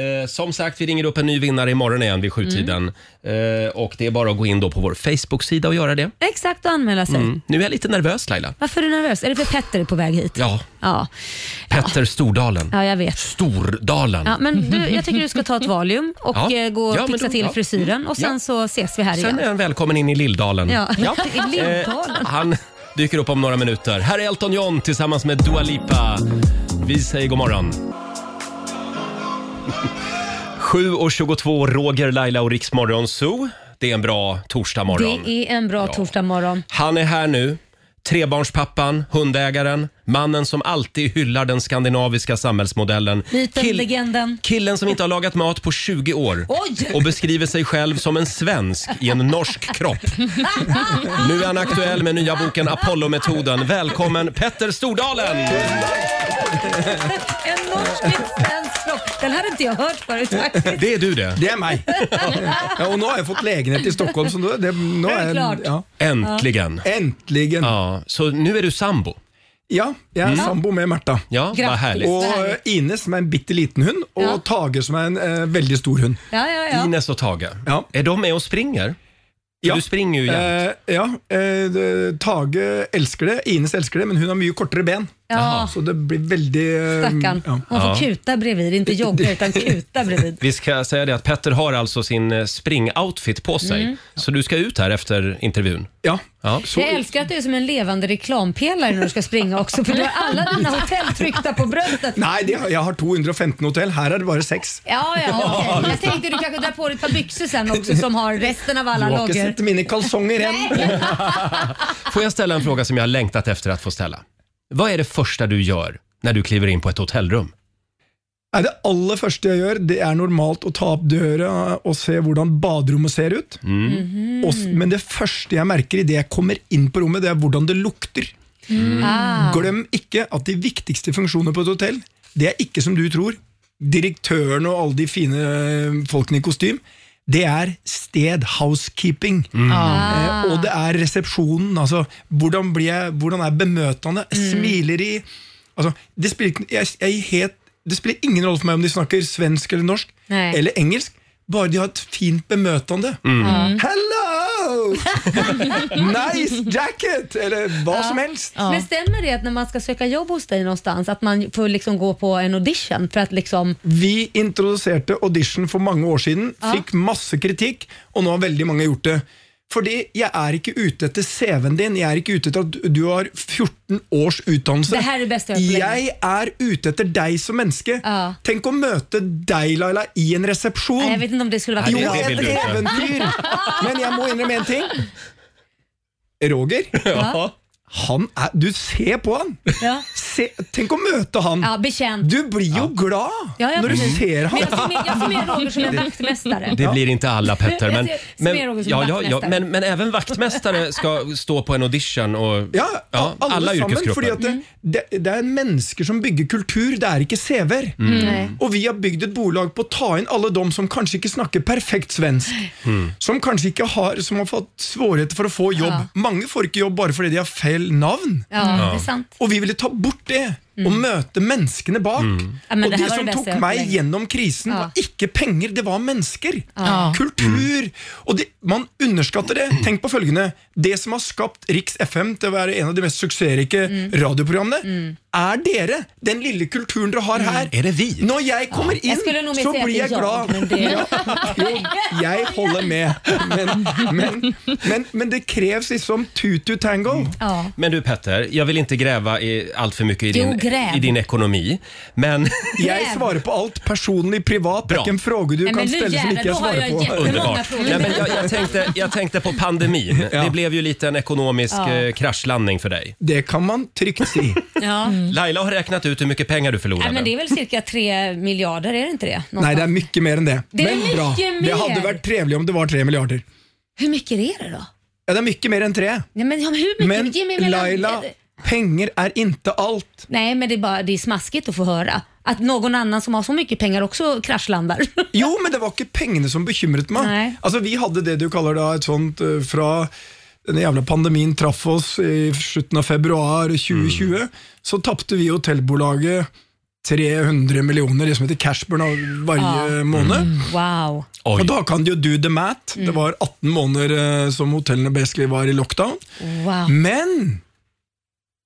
S1: Eh, som sagt, vi ringer upp en ny vinnare imorgon igen vid sjutiden. Eh, och det är bara att gå in då på vår Facebook-sida och göra det.
S2: Exakt, och anmäla sig.
S1: Mm. Nu är jag lite nervös Laila.
S2: Varför är du nervös? Är det för Petter är på väg hit?
S1: Ja,
S2: Ja,
S1: Petter Stordalen.
S2: ja jag vet.
S1: Stordalen.
S2: Ja, men du, jag tycker du ska ta ett Valium och
S1: Ja.
S2: eh, gå och
S1: Ja, men
S2: fixa
S1: då-
S2: till
S1: ja.
S2: frisyren och sen
S1: Ja.
S2: så ses vi här
S1: Sen
S2: igen.
S1: är han välkommen in i Lilldalen.
S2: Ja. *laughs* I
S1: Eh,
S2: Lilldalen.
S1: han dyker upp om några minuter. Här är Elton John tillsammans med Dua Lipa. Vi säger god morgon. *laughs* 7.22, Roger, Laila och Riksmorgon Zoo. Det är en bra torsdagmorgon.
S2: Det är en bra torsdagmorgon.
S1: Han är här nu. Trebarnspappan, hundägaren, mannen som alltid hyllar den skandinaviska samhällsmodellen.
S2: Myten,
S1: Kill-
S2: legenden.
S1: killen som inte har lagat mat på 20 år
S2: Oj!
S1: och beskriver sig själv som en svensk i en norsk kropp. Nu är han aktuell med nya boken Apollo-metoden. Välkommen Petter Stordalen!
S2: En norsk svensk Den hade inte jag hört förut faktiskt.
S1: Det är du det.
S11: Det är mig. Ja, och nu har jag fått lägenhet i Stockholm så nu, det, nu
S2: är
S11: är
S2: klart.
S11: jag, ja.
S1: Äntligen!
S11: Äntligen.
S1: Ja, så nu är du sambo?
S11: Ja, jag är sambo med Märta.
S1: Ja, vad
S2: Grattis.
S1: härligt.
S11: Och
S2: Vad
S11: eh,
S2: härligt.
S11: Ines som är en bitte liten hund och
S2: Ja.
S11: Tage som är en eh, väldigt stor hund.
S2: Ja, ja, ja.
S1: Ines och Tage,
S11: Ja.
S1: är de med och springer?
S11: Ja.
S1: Du springer ju jämt.
S11: Eh, ja, eh, det- Tage elsker det, Ines elsker det, men hon har mycket kortare ben.
S2: ja.
S11: Så det blir väldigt... eh,
S2: Stackarn.
S11: Ja.
S2: Hon får
S1: Ja.
S2: kuta bredvid, inte jogga utan kuta bredvid.
S1: Vi ska säga det att Petter har alltså sin eh, springoutfit på sig.
S11: Mm.
S1: Så du ska ut här efter intervjun.
S11: ja.
S1: Ja.
S11: Så,
S2: Jag älskar att du är som en levande reklampelare när du ska springa också för du har alla dina hotell tryckta på bröstet.
S11: nej, det, jag har 215 hotell. Här är det bara sex.
S2: Ja, ja, okej. Jag tänkte du kanske drar på dig ett par byxor sen också som har resten av
S11: Du
S2: alla
S11: har inte
S2: loggor.
S11: sett mina kalsonger än.
S1: Får jag ställa en fråga som jag har längtat efter att få ställa? Vad är det första du gör när du kliver in på ett hotellrum?
S11: Nei, Det aller første jeg gjør, det er normalt å ta opp døra og se hvordan baderommet ser ut.
S1: Mm.
S11: Og s- men det første jeg merker idet jeg kommer inn på rommet, det er hvordan det lukter.
S2: Ah.
S11: Glem ikke at de viktigste funksjonene på et hotell, det er ikke som du tror. Direktøren og alle de fine eh, folkene i kostym. Det er sted, housekeeping. Eh, og det er resepsjonen. Altså, hvordan, blir jeg, hvordan er bemøtende? Smiler de? Altså, det, spiller, ikke- jeg, jeg er helt, det spiller ingen rolle for meg om de snakker svensk eller norsk
S2: Nei.
S11: eller engelsk. Bare de har et fint bemøtende. Hello! *laughs* nice jacket! Eller hva som helst.
S2: Men stämmer det att när man ska söka jobb hos dig någonstans att man får liksom gå på en audition för att liksom...
S11: Vi introduserte audition for mange år siden, fikk masse kritikk, og nå har veldig mange gjort det. Fordi jeg er ikke ute etter CV-en din, jeg er ikke ute etter at du har 14 års utdannelse.
S2: Det her er det beste jeg har hørt på
S11: jeg er ute etter deg som menneske.
S2: Ja.
S11: Tenk å møte deg, Laila, i en resepsjon.
S2: Nej, jag vet inte om det skulle vara
S1: Nej,
S11: Jo,
S1: det-
S2: bra.
S1: det
S11: et
S1: vil du ikke.
S11: eventyr! Men jeg må innrømme en ting. Roger,
S1: Ja.
S11: han er, du ser på han.
S2: Ja.
S11: Se, tenk å møte han.
S2: Ja, betjänt.
S11: Du blir jo glad
S2: Ja, ja,
S11: når du
S2: precis.
S11: ser
S2: Men
S11: han.
S2: jag ser mer- jag ser mer Roger som en vaktmästare.
S1: Det blir inte alla Petter, men,
S2: *laughs* Jag ser- ser
S1: men,
S2: mer Roger som
S1: ja, ja, ja,
S2: vaktmästare.
S1: men, men även
S2: *laughs*
S1: vaktmästare ska stå på en audition. Och,
S11: Ja,
S1: Ja,
S11: alle,
S1: alla
S11: sammen.
S1: yrkesgrupper.
S11: Fordi at det, det, det er mennesker som bygger kultur, det er ikke CV-er.
S1: Mm.
S11: Og vi har bygd et bolag på å ta inn alle de som kanskje ikke snakker perfekt svensk.
S1: Mm.
S11: Som kanskje ikke har Som har fått svårigheter for å få jobb.
S2: Ja.
S11: Mange får ikke jobb bare fordi de har feil navn.
S2: Ja, det är sant.
S11: Og vi ville ta bort det, og møte menneskene bak.
S2: Ja, men
S11: og
S2: det
S11: det,
S2: her var det
S11: som
S2: beste jeg har
S11: tok
S2: hørt
S11: meg
S2: lenge.
S11: gjennom krisen,
S2: Ja.
S11: var ikke penger, det var mennesker.
S3: Ja.
S11: Kultur. Og det, man underskatter det. Tenk på følgende. Det som har skapt Riks FM til å være en av de mest suksessrike
S2: Mm.
S11: radioprogrammene, er dere. Den lille kulturen dere har her.
S1: Är det vi?
S11: Når jeg kommer
S2: Mm. Jeg
S11: inn,
S2: skulle nog mer
S11: så
S2: säga att
S11: blir jeg
S2: det är jag,
S11: glad.
S2: men det-
S11: Ja. Jo, jeg holder med, men, men, men, men det kreves liksom tutu tango.
S2: Ja.
S1: Men du Petter, jag vill inte gräva i, allt för mycket i
S2: Jo,
S1: din,
S2: gräv.
S1: i din ekonomi. Men
S11: Jeg svarer på alt personlig, privat. Det
S1: Bra.
S11: er ikke en fråge du
S2: Nej, men
S11: kan
S2: nu
S11: stille som
S2: jävlar,
S11: ikke jeg
S2: då har
S11: svarer
S2: jag
S11: på.
S2: jätte-
S1: *laughs*
S2: många
S1: underbart.
S2: frågor.
S1: Nej, men jag, jag, tänkte, jag tänkte på pandemin.
S11: Ja.
S1: Det blev ju lite en ekonomisk eh, kraschlandning för
S2: Mm.
S1: dig.
S11: Det kan man trygt si.
S2: Ja.
S1: Laila har räknat ut hur mycket pengar du förlorade.
S2: Mm. Nej, men det är väl cirka tre miljarder, är det inte det?
S11: Nei,
S2: Någonstans.
S11: det er mye mer enn det.
S2: Det er
S11: Men bra.
S2: mye
S11: Det
S2: mer.
S11: hadde vært trevelig om det var tre milliarder.
S2: Hur mycket är det då?
S11: Ja, det er mye mer enn tre.
S2: Nej, men, ja, men hur mycket?
S11: Men
S2: Ge mig mellan-
S11: Laila, penger er inte alt.
S2: Nej, men det är, bara, det är smaskigt att få höra. Att någon annan som har så mycket pengar också kraschlandar. *laughs*
S11: Jo, men det var ikke pengene som bekymret meg.
S2: Nei.
S11: Altså, Vi hadde det du kaller da et sånt eh, fra den jävla pandemin traff oss i slutten av februari 2020, så tappte vi hotellbolaget 300 miljoner, det som heter cashburn av varje
S2: Ja.
S11: måned.
S2: Wow.
S11: Og da kan du jo do the math. Det var 18 måneder eh, som hotellene basically var i lockdown.
S2: Wow.
S11: Men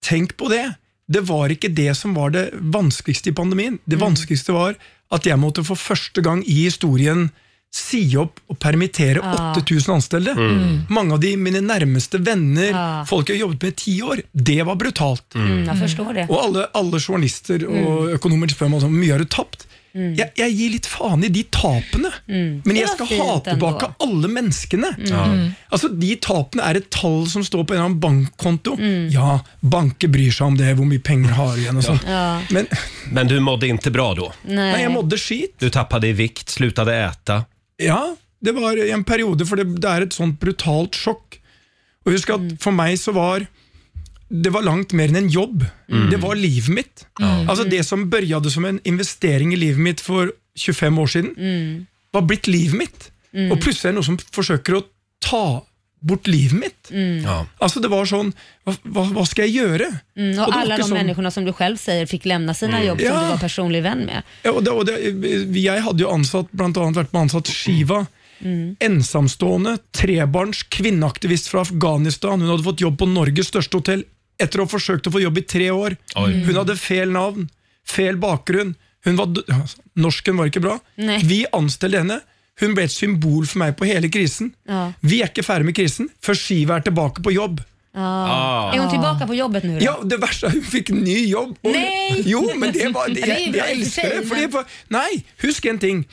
S11: tenk på det! Det var ikke det som var det vanskeligste i pandemien. Det vanskeligste var at jeg måtte for første gang i historien si opp og permittere
S8: Ah.
S11: 8000 anställde.
S8: Mm.
S11: Mange av de mine nærmeste venner,
S2: Ah.
S11: folk jeg har jobbet med i ti år. Det var brutalt.
S2: Mm, jag förstår det.
S11: Og alle, alle journalister og økonomer spør meg sånn, hvor mye har du tapt?
S2: Mm.
S11: Jeg, jeg gir litt faen i de tapene,
S2: Mm.
S11: men
S2: Det
S11: jeg
S2: var
S11: skal
S2: fint
S11: ha
S2: ändå.
S11: tilbake alle menneskene.
S2: Ja. Mm.
S11: Altså, De tapene er et tall som står på en eller annen bankkonto. Ja, banker bryr seg om det, hvor mye penger har du igjen og sånn.
S2: Mm. Ja. Eh.
S11: Men,
S1: Men du mådde inte bra då?
S2: Nej.
S11: Nej, jag mådde skit.
S1: Du tappade i vikt, slutade äta.
S11: Ja, det var i en periode, for det, det er et sånt brutalt sjokk. Og husk
S8: Mm.
S11: at for meg så var det var langt mer enn en jobb.
S8: Mm.
S11: Det var livet mitt.
S8: Ja.
S11: Altså Det som begynte som en investering i livet mitt for 25 år siden, var blitt livet mitt.
S8: Mm.
S11: Og plutselig er det noen som forsøker å ta bort livet mitt.
S8: Mm.
S1: Ja.
S11: Altså Det var sånn Hva, hva, hva skal jeg gjøre?
S2: Mm,
S11: det
S2: och
S11: var
S2: alla de
S11: ikke sånn-
S2: människorna som du själv säger fick lämna sina
S11: Mm.
S2: jobb
S11: Ja.
S2: som du var personlig vän med.
S11: Ja, og det, og det, jeg hadde jo ansatt, blant annet vært med ansatt Shiva. Ensamstående, trebarns, kvinneaktivist fra Afghanistan. Hun hadde fått jobb på Norges største hotell etter å ha forsøkt å få jobb i tre år.
S8: Oi.
S11: Hun hadde fel navn, fel bakgrunn. Hun var, d- altså, norsken var ikke bra.
S8: Nei.
S11: Vi anstelte henne. Hun ble et symbol for meg på hele krisen.
S2: Ja.
S11: Vi er ikke ferdig med krisen før Shiva er tilbake på jobb.
S1: Ah,
S2: Ja. Är hon tillbaka på jobbet nu då?
S11: Ja, det verste er hun fikk ny jobb. og-
S2: Nei!
S11: Jo, men det
S2: *laughs*
S11: var
S2: Det er
S11: Jeg,
S2: jo
S11: jeg
S2: ikke
S11: elsker det.
S2: feil,
S11: Fordi,
S2: men-
S11: for- nei, husk en ting.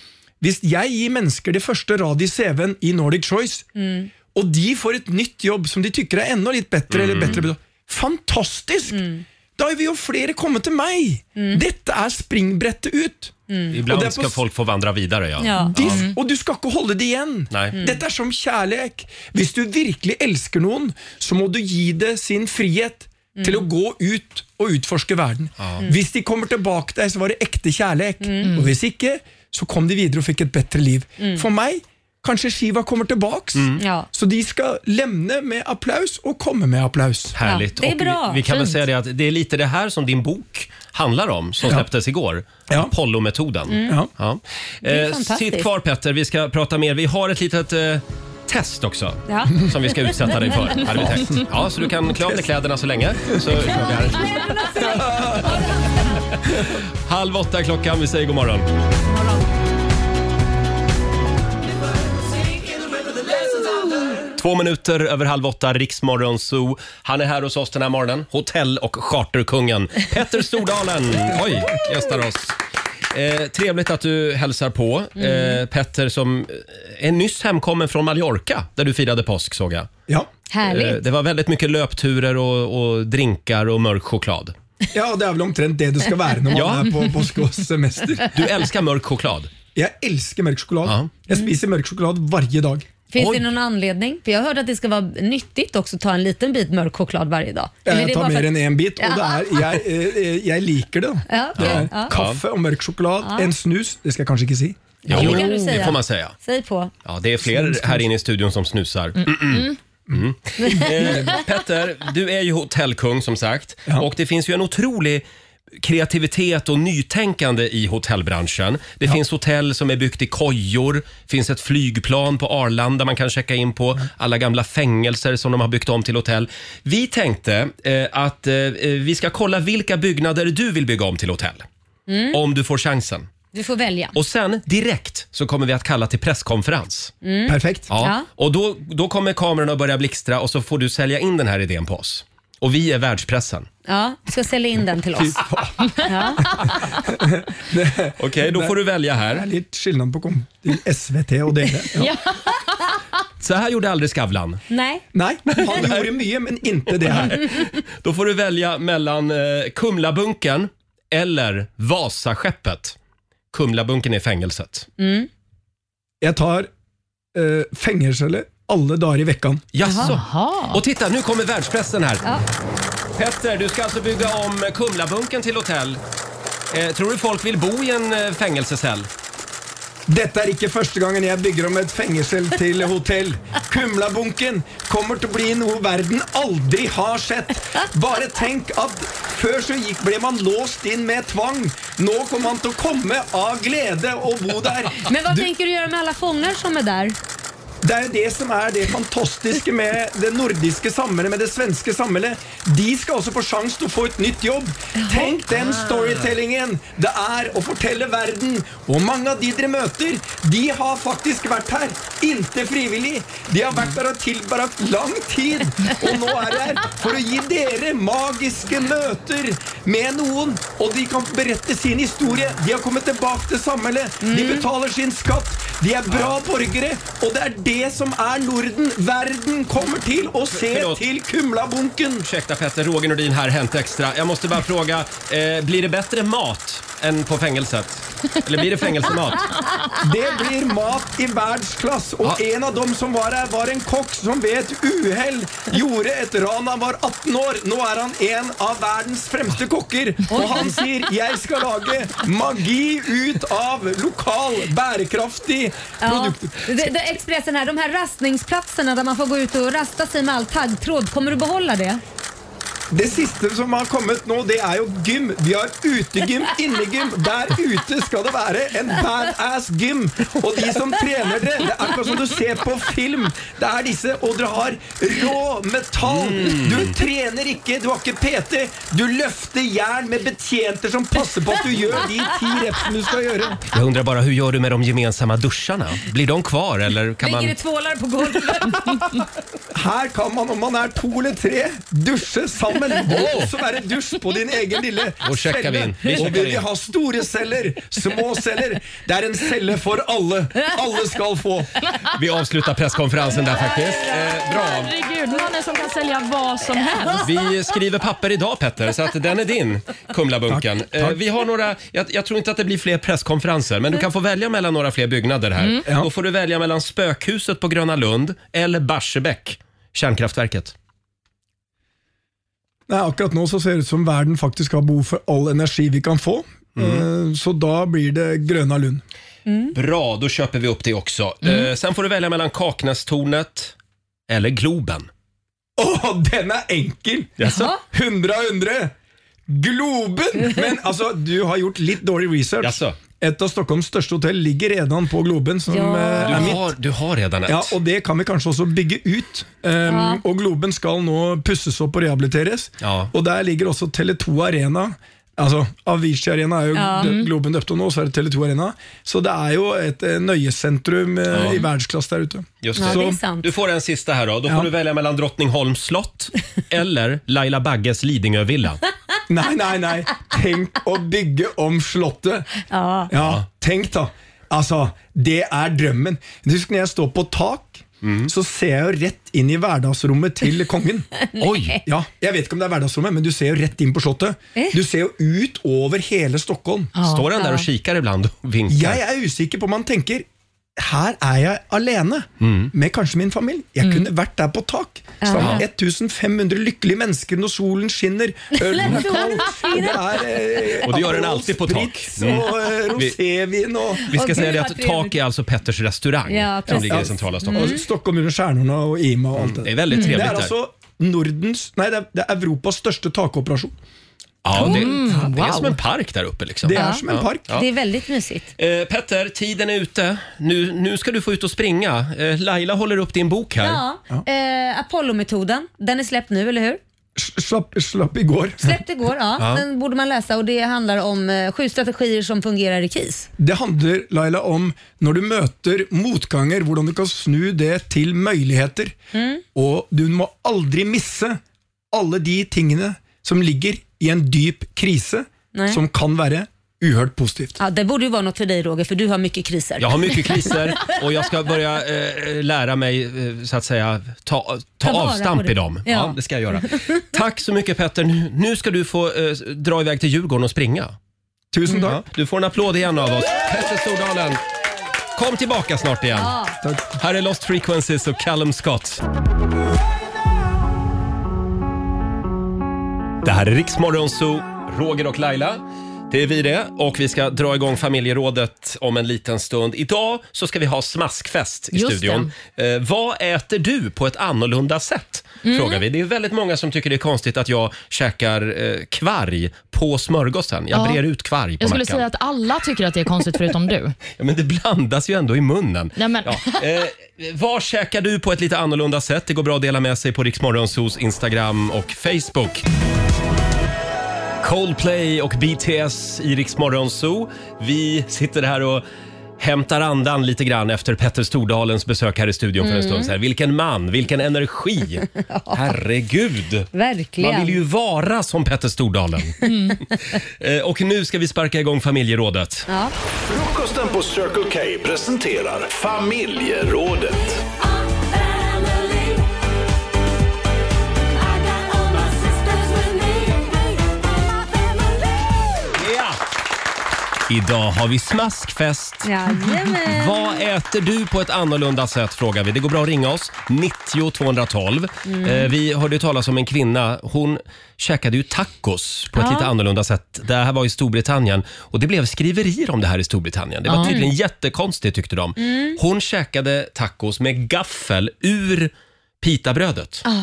S11: Hvis jeg gir mennesker det første radet i CV-en i Nordic Choice,
S2: Mm.
S11: og de får et nytt jobb som de tykker er enda litt bedre, eller
S8: Mm.
S11: bedre betalt, fantastisk!
S2: Mm.
S11: Da vil jo flere komme til meg! Dette er springbrettet ut.
S2: Mm.
S1: Ibland
S11: Och det är på
S1: ska
S11: s-
S1: folk få vandra vidare ja.
S11: De, og du skal ikke holde det igjen.
S1: Nei. Mm.
S11: Dette er som kjærlek. Hvis du virkelig elsker noen, så må du gi det sin frihet
S1: Mm.
S11: til å gå ut og utforske verden. Mm. Hvis de kommer tilbake til deg, så var det ekte kjærlek.
S1: Mm.
S11: Og hvis ikke, så kom de videre og fikk et bedre liv.
S2: Mm.
S11: For meg, kanskje Shiva kommer tilbake.
S1: Mm.
S2: Ja.
S11: Så de skal lemne med applaus og komme med applaus.
S1: Härligt.
S11: det är
S1: Och
S11: bra.
S1: Vi, vi kan väl
S11: Fint.
S1: säga det att det är lite det här som din bok handlar om, som släpptes igår. Apollo-metoden.
S8: Mm. Ja.
S1: Ja.
S8: Det är
S1: Eh,
S8: fantastiskt.
S1: sitt kvar Petter, vi ska prata mer. Vi har ett litet eh, test också.
S8: Ja.
S1: Som vi ska utsätta dig för. hade vi tänkt. Ja, så du kan klä av dig kläderna så länge. Så kör vi här. *laughs* Halv åtta är klockan, vi säger god morgon. Två minuter över halv åtta, Riksmorgon Zoo. Han är här hos oss den här morgonen. Hotell och charterkungen Petter Stordalen. Oj, gästar oss. Eh, trevligt att du hälsar på. Eh,
S2: Mm.
S1: Petter som eh, är nyss hemkommen från Mallorca där du firade påsk såg jag. Eh,
S11: Ja.
S2: Härligt.
S1: Det var väldigt mycket löpturer och, och drinkar och mörk choklad.
S11: Ja, det er vel omtrent det det skal være når man
S1: Ja.
S11: er på
S1: *laughs*
S11: påskesemester.
S2: *laughs*
S1: Du älskar mörk choklad.
S11: Jeg elsker mørk sjokolade. Jeg spiser mørk sjokolade hver dag.
S2: Finns det någon anledning? För jag hörde att det ska vara nyttigt också att ta en liten bit mörk choklad varje dag. Eller är
S11: Jeg
S2: det
S11: tar
S2: bara för
S11: mer
S2: att-
S11: enn én bit, og det
S2: Ja.
S11: er, jeg, eh, jeg liker det. da.
S2: Ja,
S11: Det er
S2: ja.
S11: kaffe og mørk sjokolade,
S2: Ja. Mm.
S11: en snus Det skal jeg kanskje ikke si.
S1: Jo,
S2: det kan du
S1: det
S2: säga.
S1: får man säga.
S2: Säg på.
S1: Ja, det är fler här inne i studion som snusar.
S2: Mm.
S1: Mm. Eh, Petter, du är ju hotellkung som sagt och det finns ju en otrolig kreativitet och nytänkande i hotellbranschen. Det finns hotell som är byggt i kojor, finns ett flygplan på Arlanda man kan checka in på, alla gamla fängelser som de har byggt om till hotell. Vi tänkte eh, att eh, vi ska kolla vilka byggnader du vill bygga om till hotell,
S2: Mm.
S1: om du får chansen.
S2: Du får välja.
S1: Och sen direkt så kommer vi att kalla till presskonferens.
S2: Mm.
S1: Ja.
S2: Ja.
S1: Och då, då kommer kamerorna att börja blixtra och så får du sälja in den här idén på oss. Och vi är världspressen.
S2: Ja, du ska sälja in den till oss. Ja.
S1: Okej, då får du välja
S11: Det er
S1: här.
S11: litt skillnad på å komme til SVT og dere. Ja.
S1: Så här gjorde aldrig Skavlan.
S2: Nej.
S11: Nei, han gjorde mye, men inte det her.
S1: Då får du välja mellan eh, Kumlabunken eller Vasaskeppet. Kumlabunken är fängelset.
S11: Jeg tar uh, fengselceller alle dager i veckan.
S1: Jaså? Och titta, nu kommer världspressen här. Petter, du ska alltså bygga om Kumlabunken till hotell. Eh, tror du folk vill bo i en eh, fängelsecell?
S11: Dette er ikke første gangen jeg bygger om et fengsel til hotell. Kumlabunken kommer til å bli noe verden aldri har sett. Bare tenk at før så gikk, ble man låst inn med tvang. Nå kommer man til å komme av glede og bo der.
S2: Men vad
S11: Du-
S2: tänker du göra med alla fångar som är där?
S11: det er jo det som er det fantastiske med det nordiske samholdet, med det svenske samholdet. De skal også få sjans til å få et nytt jobb. Tenk den storytellingen det er å fortelle verden. Og mange av de dere møter, de har faktisk vært her. Inntil frivillig. De har vært der og tilbrakt lang tid. Og nå er de her for å gi dere magiske møter med noen. Og de kan berette sin historie. De har kommet tilbake til samholdet. De betaler sin skatt. De er bra borgere, og det er det som er Norden. Verden kommer til å se till Kumlabunken.
S1: Ursäkta Petter, Roger Nordin här, Hänt Extra. Jag måste bara fråga, eh, blir det bättre mat än på fängelset? Eller blir det fängelsemat?
S11: Det blir mat i världsklass och en av dem som var här var en kock som ved ett uhell gjorde ett ran. Han var 18 år. Nu är han en av världens främsta kockar och han säger jag ska lage magi ut av lokal bärkraftig
S2: Ja.
S11: produkt.
S2: Det, det, Expressen här, de här rastningsplatserna där man får gå ut och rasta sig med all taggtråd, kommer du behålla det?
S11: Det siste som har kommet nå, det er jo gym. Vi har utegym, innegym. Der ute skal det være en badass gym. Og de som trener det, det er akkurat som du ser på film. Det er disse, og dere har rå metall. Du trener ikke, du har ikke PT. Du løfter jern med betjenter som passer på at du gjør de ti repsene du skal gjøre.
S1: Jag undrar bara, hur gör du med de gemensamma duscharna? Blir de kvar eller kan man...
S2: tvålar på *laughs* golvet?
S11: Her kan man, om man er to eller tre, dusje sammen.
S1: Åh.
S11: Og så være dusj på din egen lille
S1: Og sjekker vi inn. Vi
S11: Og
S1: sjekker
S11: vi vil
S1: inn.
S11: ha store celler, små celler. Det er en celle for alle. Alle skal få.
S1: Vi avslutar presskonferensen där faktiskt. Eh, bra.
S3: Herregud, mannen som kan sälja vad som helst.
S1: Eh, Vi skriver papper idag Petter, så att den är din, Kumlabunken. Eh, Vi har några, jag, jag tror inte att det blir fler presskonferenser, men du kan få välja mellan några fler byggnader här.
S8: Mm. Ja.
S1: Då får du välja mellan Spökhuset på Gröna Lund eller Barsebäck, kärnkraftverket.
S11: Nei, akkurat nå så ser det ut som verden faktisk har behov for all energi vi kan få. Eh, Så da blir det Grøna Lund.
S1: Bra, då köper vi upp det också.
S11: Mm.
S1: Eh, sen får du välja mellan Kaknästornet eller Globen.
S11: Å, den er enkel!
S1: Jaså?
S11: 100 av 100! Globen! Men altså, du har gjort litt dårlig research. Et av Stockholms største hotell ligger redan på Globen, som
S1: Du,
S11: eh, er mitt.
S1: har, du har redan ett.
S11: Ja, og det kan vi kanskje også bygge ut. Um,
S1: Ja.
S11: Og Globen skal nå pusses opp og rehabiliteres.
S1: Ja.
S11: Og der ligger også Tele2 Arena. Altså, Avicii Arena er jo
S1: Ja.
S11: døpt- Globen døpt om nå, så er det Tele2 Arena. Så det er jo et eh, nøyesentrum eh,
S1: Ja.
S11: i världsklasse der ute.
S1: Just
S11: Så-
S1: det. du får en sista här då. Då får du välja mellan Drottningholms
S11: *laughs*
S1: slott eller Laila Bagges Lidingövilla.
S11: Nei, nei, nei. Tenk å bygge om Slottet.
S2: Ja.
S11: tenk da. Altså, det er drømmen. Husk når jeg står på tak,
S1: Mhm.
S11: så ser jeg jo rett inn i hverdagsrommet til kongen.
S2: Oi.
S11: Ja, jeg vet ikke om det er hverdagsrommet, men du ser jo rett inn på Slottet. Du ser jo ut over hele Stockholm.
S1: Ja. Står han der og kikker iblant og vinker?
S11: Jeg er usikker på om han tenker her er jeg alene,
S1: Mm.
S11: med kanskje min familie. Jeg kunne vært der på tak sammen med 1500 lykkelige mennesker når solen skinner. Ølen er kald. og Det er
S1: *laughs*
S11: eh,
S1: Och det gör den alltid på tak. Mm.
S11: Spritz och, eh, rosévin och-
S1: Vi ska
S11: Åh,
S1: säga
S11: gud,
S1: det
S11: vad
S1: att
S11: trevligt. Mm.
S1: tak är alltså Petters restaurang som ligger i centrala Stockholm. Mm.
S11: Og Stockholm under stjernene og Ima og alt det
S1: Det er veldig trevlig
S11: Det
S1: der.
S11: er altså Nordens, nei, det er, det er Europas største takoperasjon.
S1: Ja, det,
S11: Mm,
S1: det är
S11: wow.
S1: som en park där uppe liksom.
S11: Det är som en park.
S2: Det är väldigt mysigt.
S1: Eh, Petter, tiden är ute. Nu, nu ska du få ut och springa. Eh, Laila håller upp din bok här.
S2: Ja. Eh, Apollo-metoden, den är släppt nu, eller hur?
S11: Slapp, slapp i går.
S1: *laughs*
S2: Släppt igår, ja.
S11: Ja.
S2: Den borde man läsa och det handlar om eh, sju strategier som fungerar i kris.
S11: Det handler Laila, om når du møter motganger, hvordan du kan snu det til muligheter. Og du må aldri misse alle de tingene som ligger i en dyp krise,
S2: Nei.
S11: som kan være uhørt positivt.
S2: Ja, det borde ju vara något för dig Roger, för du har mycket kriser.
S1: Jag har mycket kriser och jag ska börja eh, lära mig eh, så att säga ta, ta,
S2: Ta vara
S1: avstamp
S2: på
S1: i
S2: det.
S1: dem. Ja.
S2: Ja.
S1: det ska jag göra. Tack så mycket Petter. Nu- Nu ska du få eh, dra iväg till Djurgården och springa.
S11: Tusen
S1: tack. du får en applåd igen av oss. Petter Stordalen, kom tillbaka snart igen.
S2: Ja.
S1: Här är Lost Frequencies och Callum Scott. Det här är Riksmorgon Zoo, Roger och Laila. Det är vi det och vi ska dra igång familjerådet om en liten stund. Idag så ska vi ha smaskfest i
S12: Just
S1: studion. Eh, vad äter du på ett annorlunda sätt?
S12: Mm.
S1: Frågar vi. Det är väldigt många som tycker det är konstigt att jag käkar eh, kvarg på smörgåsen. Jag
S3: Ja.
S1: brer ut kvarg på
S3: Jag skulle
S1: mackan.
S3: säga att alla tycker att det är konstigt förutom du.
S1: Ja, men det blandas ju ändå i munnen.
S3: Nej, men.
S1: Ja. Eh, vad käkar du på ett lite annorlunda sätt? Det går bra att dela med sig på Riksmorgonsos Instagram och Facebook. Coldplay och BTS i Riksmorgonso. Vi sitter här och hämtar andan lite grann efter Petter Stordalens besök här i studion för en
S2: Mm.
S1: stund sedan. Vilken man, vilken energi! Herregud!
S2: Verkligen.
S1: Man vill ju vara som Petter Stordalen. *laughs* Eh, och nu ska vi sparka igång familjerådet.
S2: Ja.
S8: Frukosten på Circle K presenterar familjerådet.
S1: Ja! Idag har vi smaskfest.
S2: Jajamän.
S1: Vad äter du på ett annorlunda sätt frågar vi. Det går bra att ringa oss. 90 212.
S12: Mm.
S1: Eh, vi hörde ju talas om en kvinna. Hon käkade ju tacos på ett
S12: Ja.
S1: lite annorlunda sätt. Det här var i Storbritannien och det blev skriverier om det här i Storbritannien. Det var
S12: Ja.
S1: tydligen
S12: Mm.
S1: jättekonstigt tyckte de.
S12: Mm.
S1: Hon käkade tacos med gaffel ur pitabrödet.
S2: Ah.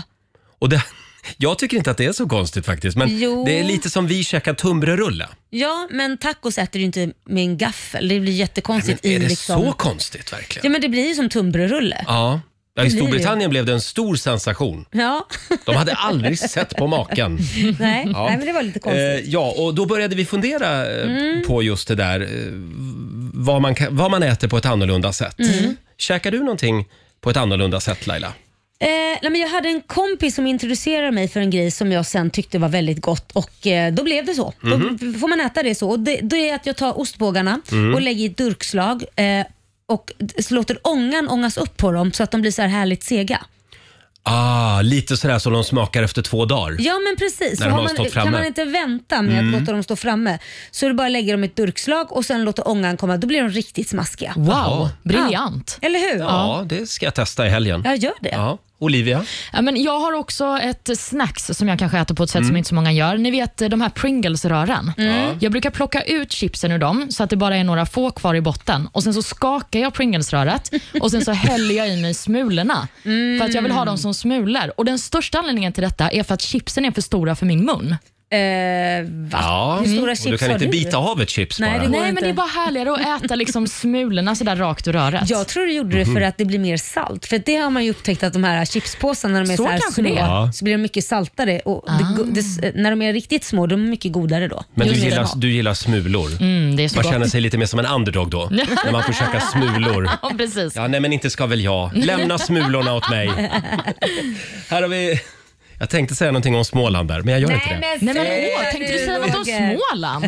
S1: Och det, *laughs* jag tycker inte att det är så konstigt faktiskt, men
S2: Jo.
S1: det är lite som vi käkar tunnbrödsrulle.
S2: Ja, men tacos äter du inte med en gaffel. Det blir jättekonstigt.
S1: Men är
S2: i
S1: det
S2: liksom...
S1: så konstigt verkligen?
S2: Ja, men det blir ju som tunnbrödsrulle.
S1: Ja. Ja,
S2: Det
S1: I
S2: blir det.
S1: Storbritannien blev det en stor sensation. *laughs*
S2: Ja.
S1: De hade
S2: *laughs*
S1: aldrig sett på maken.
S2: Nej.
S1: Ja.
S2: Nej, men det var lite konstigt.
S1: Eh, ja, och då började vi fundera eh,
S2: Mm.
S1: på just det där eh, vad man, kan, vad man äter på ett annorlunda sätt.
S2: Mm.
S1: Käkar du någonting på ett annorlunda sätt Laila?
S2: Eh, nej, men jag hade en kompis som introducerade mig för en grej som jag sen tyckte var väldigt gott och eh, då blev det så.
S12: Mhm.
S2: Då får man äta det så. Och det, då är det att jag tar ostbågarna
S12: Mm.
S1: Mhm.
S2: och lägger i ett durkslag eh, och d- så låter ångan ångas upp på dem så att de blir så här härligt sega.
S1: Ah, lite sådär som de smakar efter två dagar.
S2: Ja men precis.
S1: När
S2: Så
S1: de
S2: har
S1: har
S2: man,
S1: stått framme.
S2: kan man inte vänta med
S1: Mm.
S2: att låta dem stå framme så är det bara att lägga dem i ett durkslag och sen låter ångan komma. Då blir de riktigt smaskiga.
S1: Wow, Jaha.
S2: briljant. Eller hur?
S1: Ja, det ska jag testa i helgen.
S2: Ja, gör det.
S1: Ja. Olivia?
S3: Ja, men jag har också ett snacks som jag kanske äter på ett sätt
S1: Mm.
S3: som inte så många gör. Ni vet eh, de här Pringles-rören.
S1: Ja.
S3: Jag brukar plocka ut chipsen ur dem så att det bara är några få kvar i botten. Och Sen så skakar jag Pringles-röret
S1: *laughs*
S3: och sen så häller jag i mig smulorna.
S1: Mm.
S3: För att jag vill ha dem som smulor. Och Den största anledningen till detta är för att chipsen är för stora för min mun.
S2: va?
S1: Ja,
S3: Hur stora
S1: och du
S3: chips
S1: kan
S3: har
S1: inte
S3: du?
S1: bita av ett chips
S3: Nej,
S1: bara.
S3: det, Nej men det är bara härligare att äta liksom smulorna sådär rakt ur röret.
S2: Jag tror du gjorde det för
S3: Mhm.
S2: att det blir mer salt. För det har man ju upptäckt att de här chipspåsarna när de är
S3: Så
S2: så, här
S3: kanske
S2: små
S3: det är. Ja.
S2: så blir de mycket saltare. Och det go- det, när de är riktigt små de är mycket godare då.
S1: Men du
S2: Just
S1: gillar,
S2: det.
S1: du gillar smulor.
S2: Mm, det är så
S1: man
S2: gott.
S1: känner sig lite mer som en underdog
S2: *laughs*
S1: då, när man får käka smulor.
S3: *laughs* Ja, precis.
S1: Ja, nej men inte ska väl jag. Lämna smulorna åt
S2: *laughs*
S1: mig. Här har vi... Jag tänkte säga någonting om Småland där, men jag gör inte det.
S3: Nej, men
S12: säg
S3: åh, tänkte du säga något om
S12: Roger.
S3: *laughs* Småland?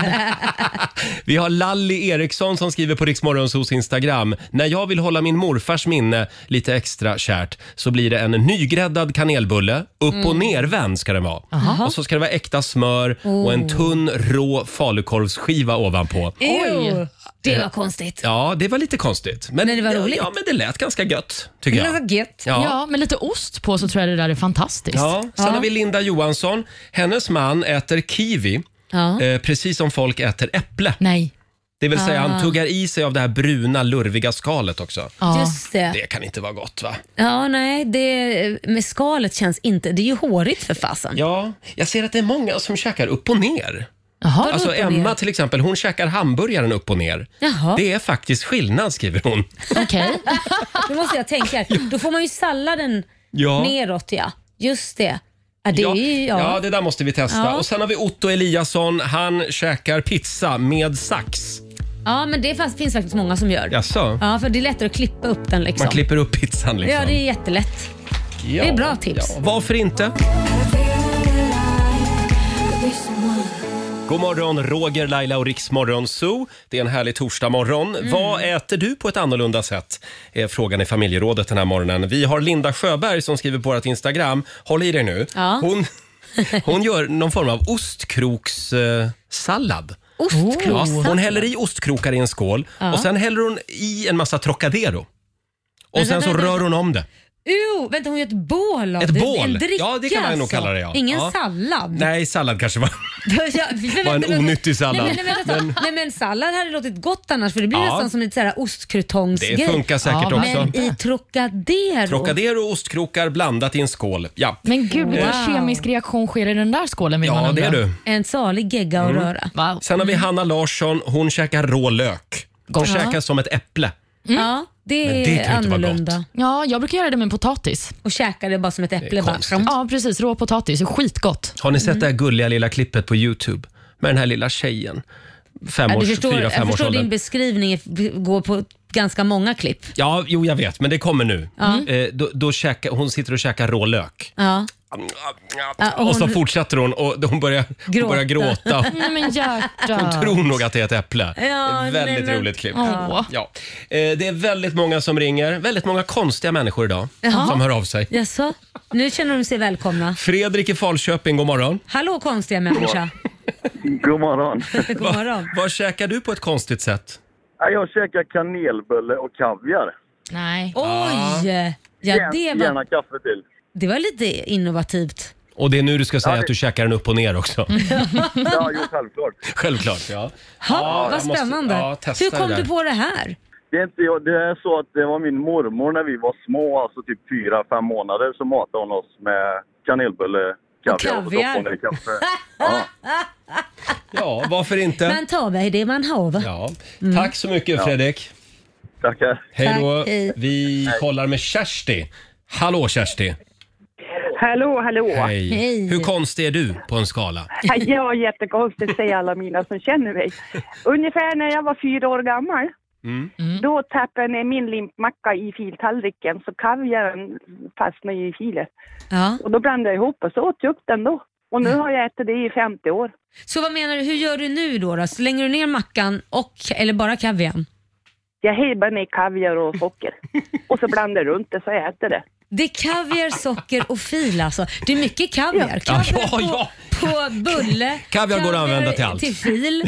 S1: Vi har Lalli Eriksson som skriver på Riksmorgonsos Instagram. När jag vill hålla min morfars minne lite extra kärt så blir det en nygräddad kanelbulle. Upp
S12: Mm.
S1: och nervänd ska den vara.
S12: Aha.
S1: Och så ska det vara äkta smör och en
S2: Oh.
S1: tunn rå falukorvsskiva ovanpå.
S2: Oj, det
S1: Eh,
S2: var konstigt.
S1: Ja, det var lite konstigt. Men,
S2: Men det var roligt.
S1: Ja, men det lät ganska gött tycker jag.
S3: Ja.
S1: Ja.
S3: med lite ost på så tror jag det där är fantastiskt.
S1: Ja, sen har vi Linda Johansson. Hennes man äter kiwi,
S3: Ja.
S1: eh, precis som folk äter äpple.
S3: Nej.
S1: Det vill säga,
S2: Ah.
S1: han tuggar i sig av det här bruna, lurviga skalet också.
S2: Ja. Just det.
S1: Det kan inte vara gott, va?
S2: Ja, nej, det med skalet känns inte... Det är ju hårigt för fasen.
S1: Ja, jag ser att det är många som käkar upp och ner.
S2: Jaha.
S1: alltså
S2: Vadå upp och ner?
S1: Emma till exempel, hon käkar hamburgaren upp och ner.
S2: Jaha.
S1: Det är faktiskt skillnad, skriver hon.
S2: Okej.
S3: *laughs*
S2: nu måste jag tänka. här. Då får man ju salladen
S1: Ja.
S2: neråt, ja. Just det. Ja, det är ju... Ja.
S1: Ja, det där måste vi testa.
S2: Ja.
S1: Och sen har vi Otto Eliasson, han käkar pizza med sax.
S2: Ja, men det fast, finns faktiskt många som gör.
S1: Jaså?
S2: Ja, för det är lättare att klippa upp den liksom.
S1: Man klipper upp pizzan liksom.
S2: Ja, det är jättelätt.
S1: Ja,
S2: det är bra tips.
S1: ja, varför inte? God morgon, Roger, Laila och Riksmorgon Zoo. Det är en härlig torsdagmorgon.
S2: Mm.
S1: Vad äter du på ett annorlunda sätt? Är frågan i familjerådet den här morgonen. Vi har Linda Sjöberg som skriver på vårt Instagram. Håll i dig nu.
S2: Ja.
S1: Hon, hon gör någon form av ostkroks-sallad. Ja,
S2: Ostkrokssallad?
S1: hon häller i ostkrokar i en skål
S2: Oh. Ja.
S1: och sen häller hon i en massa Trocadero. Och
S2: Men
S1: sen
S2: vänta,
S1: så
S2: vänta,
S1: rör
S2: vänta.
S1: hon om det.
S2: Jo, vänta hon gör ett bål av
S1: Ett
S2: det.
S1: bål?
S2: En dricka
S1: Ja, det kan man nog
S2: alltså.
S1: kalla det, ja.
S2: Ingen
S1: Ja.
S2: sallad. *laughs*
S1: Nej, sallad kanske var...
S2: Ja, men
S1: Var en
S2: vänta, vänta.
S1: onyttig sallad.
S2: Nej, men, nej, men,
S1: Men-
S2: men, nej, men sallad hade låtit gott annars för det blir
S1: Ja.
S2: nästan som lite så här ostkrutongsgrej.
S1: Det funkar säkert Ja, också.
S2: Men i Trocadero.
S1: Trocadero och ostkrokar blandat i en skål. Ja.
S3: Men gud, vilken
S1: Eh,
S3: kemisk reaktion sker i den där skålen vill
S1: Ja,
S3: man undra.
S1: det är du.
S2: En salig gegga och
S1: Mm.
S2: röra.
S1: Sen har vi Hanna Larsson. Hon käkar rå lök. Hon
S2: Gott.
S1: käkar
S2: Ja.
S1: som ett äpple.
S2: Ja, det
S1: Mm. Men det
S2: är
S1: kan ju inte vara
S2: annorlunda.
S3: Ja, jag brukar göra det med potatis.
S2: Och käka det bara som ett äpple. Bara.
S1: Mm.
S3: Ja, precis. Rå potatis. Skitgott.
S1: Har ni
S2: Mm.
S1: sett det här gulliga lilla klippet på Youtube? Med den här lilla tjejen. Fem
S2: Ja,
S1: års,
S2: du förstår,
S1: fyra,
S2: jag
S1: fem års
S2: förstår din
S1: åldern.
S2: beskrivning är- går på ganska många klipp.
S1: Ja, jo jag vet, men det kommer nu.
S2: Ja.
S1: Eh, då, då käkar, hon sitter och käkar rå lök.
S2: Ja. Ja,
S1: Och, så fortsätter hon och hon börjar gråta. Hon börjar gråta.
S3: Nej, men hjärta.
S1: *laughs* Hon tror nog att det är ett äpple.
S3: Ja,
S1: Det är ett
S3: nej,
S1: väldigt
S3: men-
S1: roligt klipp.
S3: Åh.
S1: Ja. Eh, Det är väldigt många som ringer. Väldigt många konstiga människor idag
S2: Jaha.
S1: som hör av sig.
S2: Jaså? Nu känner de sig välkomna.
S1: Fredrik i Falköping, god morgon.
S2: Hallå konstiga människa.
S12: God morgon.
S2: God morgon.
S1: Vad käkar du på ett konstigt sätt?
S12: Ja, Jag käkar kanelbulle och kaviar.
S3: Nej.
S2: Oj! Ja,
S12: Gärna-
S2: det
S12: Gärna
S2: var,
S12: kaffe till.
S2: det var lite innovativt.
S1: Och det är nu du ska säga att du käkar den upp och ner också.
S12: Ja, jo, självklart.
S1: *laughs* Självklart, ja.
S2: Ha,
S12: Ja,
S2: vad
S12: jag måste-
S2: spännande.
S12: ja, testa
S2: Hur kom
S12: det där.
S2: du på det här?
S12: Det är, inte, jag- det är så att det var min mormor när vi var små, alltså typ fyra, fem månader, så matade hon oss med kanelbulle, kaviar och, så
S2: kaviar.
S12: doppade hon i kaffe. Ja.
S1: Ja, varför inte?
S2: Man tar väl det man har va?
S1: Ja. Tack så mycket
S2: Ja.
S1: Fredrik.
S12: Tackar.
S1: Hej då.
S2: Tack, hej.
S1: Vi kollar med Kersti. Hallå Kersti.
S13: Hallå, hallå!
S1: Hej. Hur konstig är du på en skala?
S13: Ja, Jag är jättekonstig, säger alla mina som känner mig. Ungefär när jag var fyra år gammal,
S1: Mm.
S13: då tappade jag ner min limpmacka i filtallriken så kaviaren fastnade ju i filet. Och då blandade jag ihop och så åt jag upp den då. Och nu har jag ätit det i 50 år.
S2: Så vad menar du, hur gör du nu då? då? Slänger du ner mackan och, eller bara kaviarn?
S13: Jag hebbar ner kaviar och socker och så blandar jag runt det så jag äter det.
S2: Det är kaviar, socker och fil alltså. Det är mycket kaviar.
S1: Ja,
S2: Kaviar
S1: ja, ja.
S2: På, på bulle.
S1: Kaviar går att använda till allt.
S2: Till fil.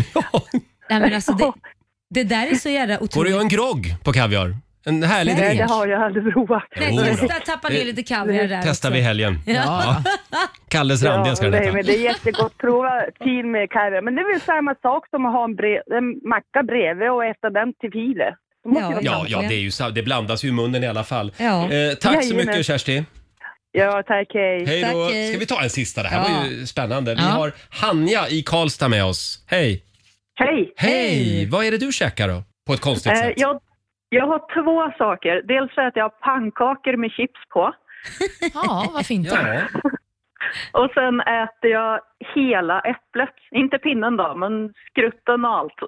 S2: Nej, men alltså, det, det där är så jävla
S1: Går det att
S2: otroligt.
S1: göra en grogg på kaviar? En härlig
S2: Nej,
S1: drink?
S2: det har
S13: jag aldrig provat.
S2: Nej,
S1: Jo då.
S2: testa tappa ner
S1: Det-
S2: lite kaviar där
S1: Testar
S2: också.
S1: vi i helgen.
S2: Ja.
S1: Kalles randiga ska den
S13: nej, men det är
S1: heta.
S13: jättegott. Prova fil med kaviar. Men det är väl samma sak som att ha en, bre- en macka bredvid och äta den till filet. Det måste ju vara
S1: Ja,
S13: samma.
S1: ja det, är ju, sa- det blandas ju i munnen i alla fall.
S13: Ja.
S1: Eh, tack så
S13: Jajamän.
S1: mycket Kersti.
S13: Ja, tack. Hej.
S1: Hej då. Ska vi ta en sista? Det här
S13: Ja.
S1: var ju spännande. Vi
S13: Ja.
S1: har Hanja i Karlstad med oss. Hej!
S14: Hej!
S1: Hej! Vad är det du käkar då? På ett konstigt
S14: Eh,
S1: sätt?
S14: jag, jag har två saker. Dels så att jag har pannkakor med chips på.
S3: Ja, vad fint.
S14: Och sen äter jag hela äpplet. Inte pinnen då, men skrutten och allt.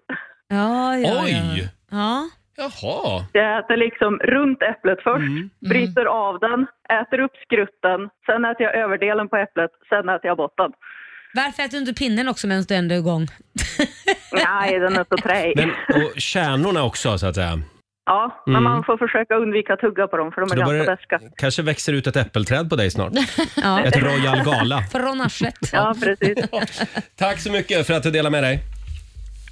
S2: Ja,
S14: ja,
S1: Oj!
S2: Ja.
S1: Jaha.
S14: Jag äter liksom runt äpplet först,
S1: Mm.
S14: bryter av den, äter upp skrutten, sen äter jag överdelen på äpplet, sen äter jag botten.
S2: Varför äter du inte pinnen också medan du ändå är igång?
S14: Nej, den är så träig.
S1: Men, och kärnorna också så att säga.
S14: Ja, men
S1: Mm.
S14: man får försöka undvika att tugga på dem för de
S1: Så
S14: är
S1: då
S14: ganska
S1: börjar,
S14: beska.
S1: kanske växer ut ett äppelträd på dig snart.
S2: Ja.
S1: Ett Royal Gala.
S2: Från arslet.
S14: Ja, precis.
S1: *laughs* Tack så mycket för att du delade med dig.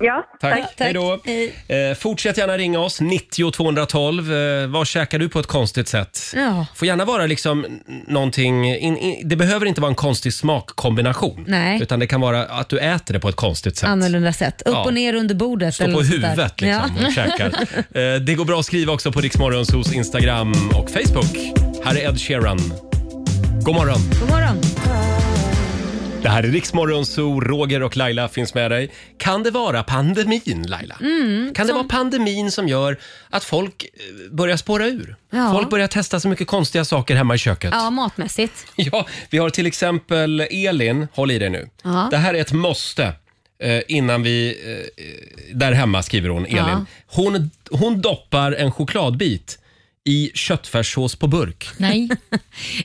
S14: Ja,
S1: Tack. Hej då. Eh, fortsätt gärna ringa oss, 90 212. Eh, vad käkar du på ett konstigt sätt?
S2: Ja.
S1: Får gärna vara liksom n- någonting, in, in, det behöver inte vara en konstig smakkombination.
S2: Nej.
S1: Utan det kan vara att du äter det på ett konstigt sätt.
S2: Annorlunda sätt. Upp
S1: Ja.
S2: och ner under bordet.
S1: Stå
S2: eller
S1: på
S2: något sånt där.
S1: huvudet liksom
S2: Ja.
S1: och käkar. Eh, det går bra att skriva också på Riksmorgonsos Instagram och Facebook. Här är Ed Sheeran. God morgon!
S2: God morgon.
S1: Det här är Riksmorgonso, Roger och Laila finns med dig. Kan det vara pandemin, Laila?
S2: Mm,
S1: Kan det
S2: som-
S1: vara pandemin som gör att folk eh, börjar spåra ur?
S2: Ja.
S1: Folk börjar testa så mycket konstiga saker hemma i köket.
S2: Ja, matmässigt.
S1: *laughs* Ja, vi har till exempel Elin, håll i dig nu.
S2: Ja.
S1: Det här är ett måste eh, innan vi... eh, Där hemma skriver hon, Elin.
S3: Ja.
S1: Hon, hon doppar en chokladbit i köttfärssås på burk.
S2: Nej.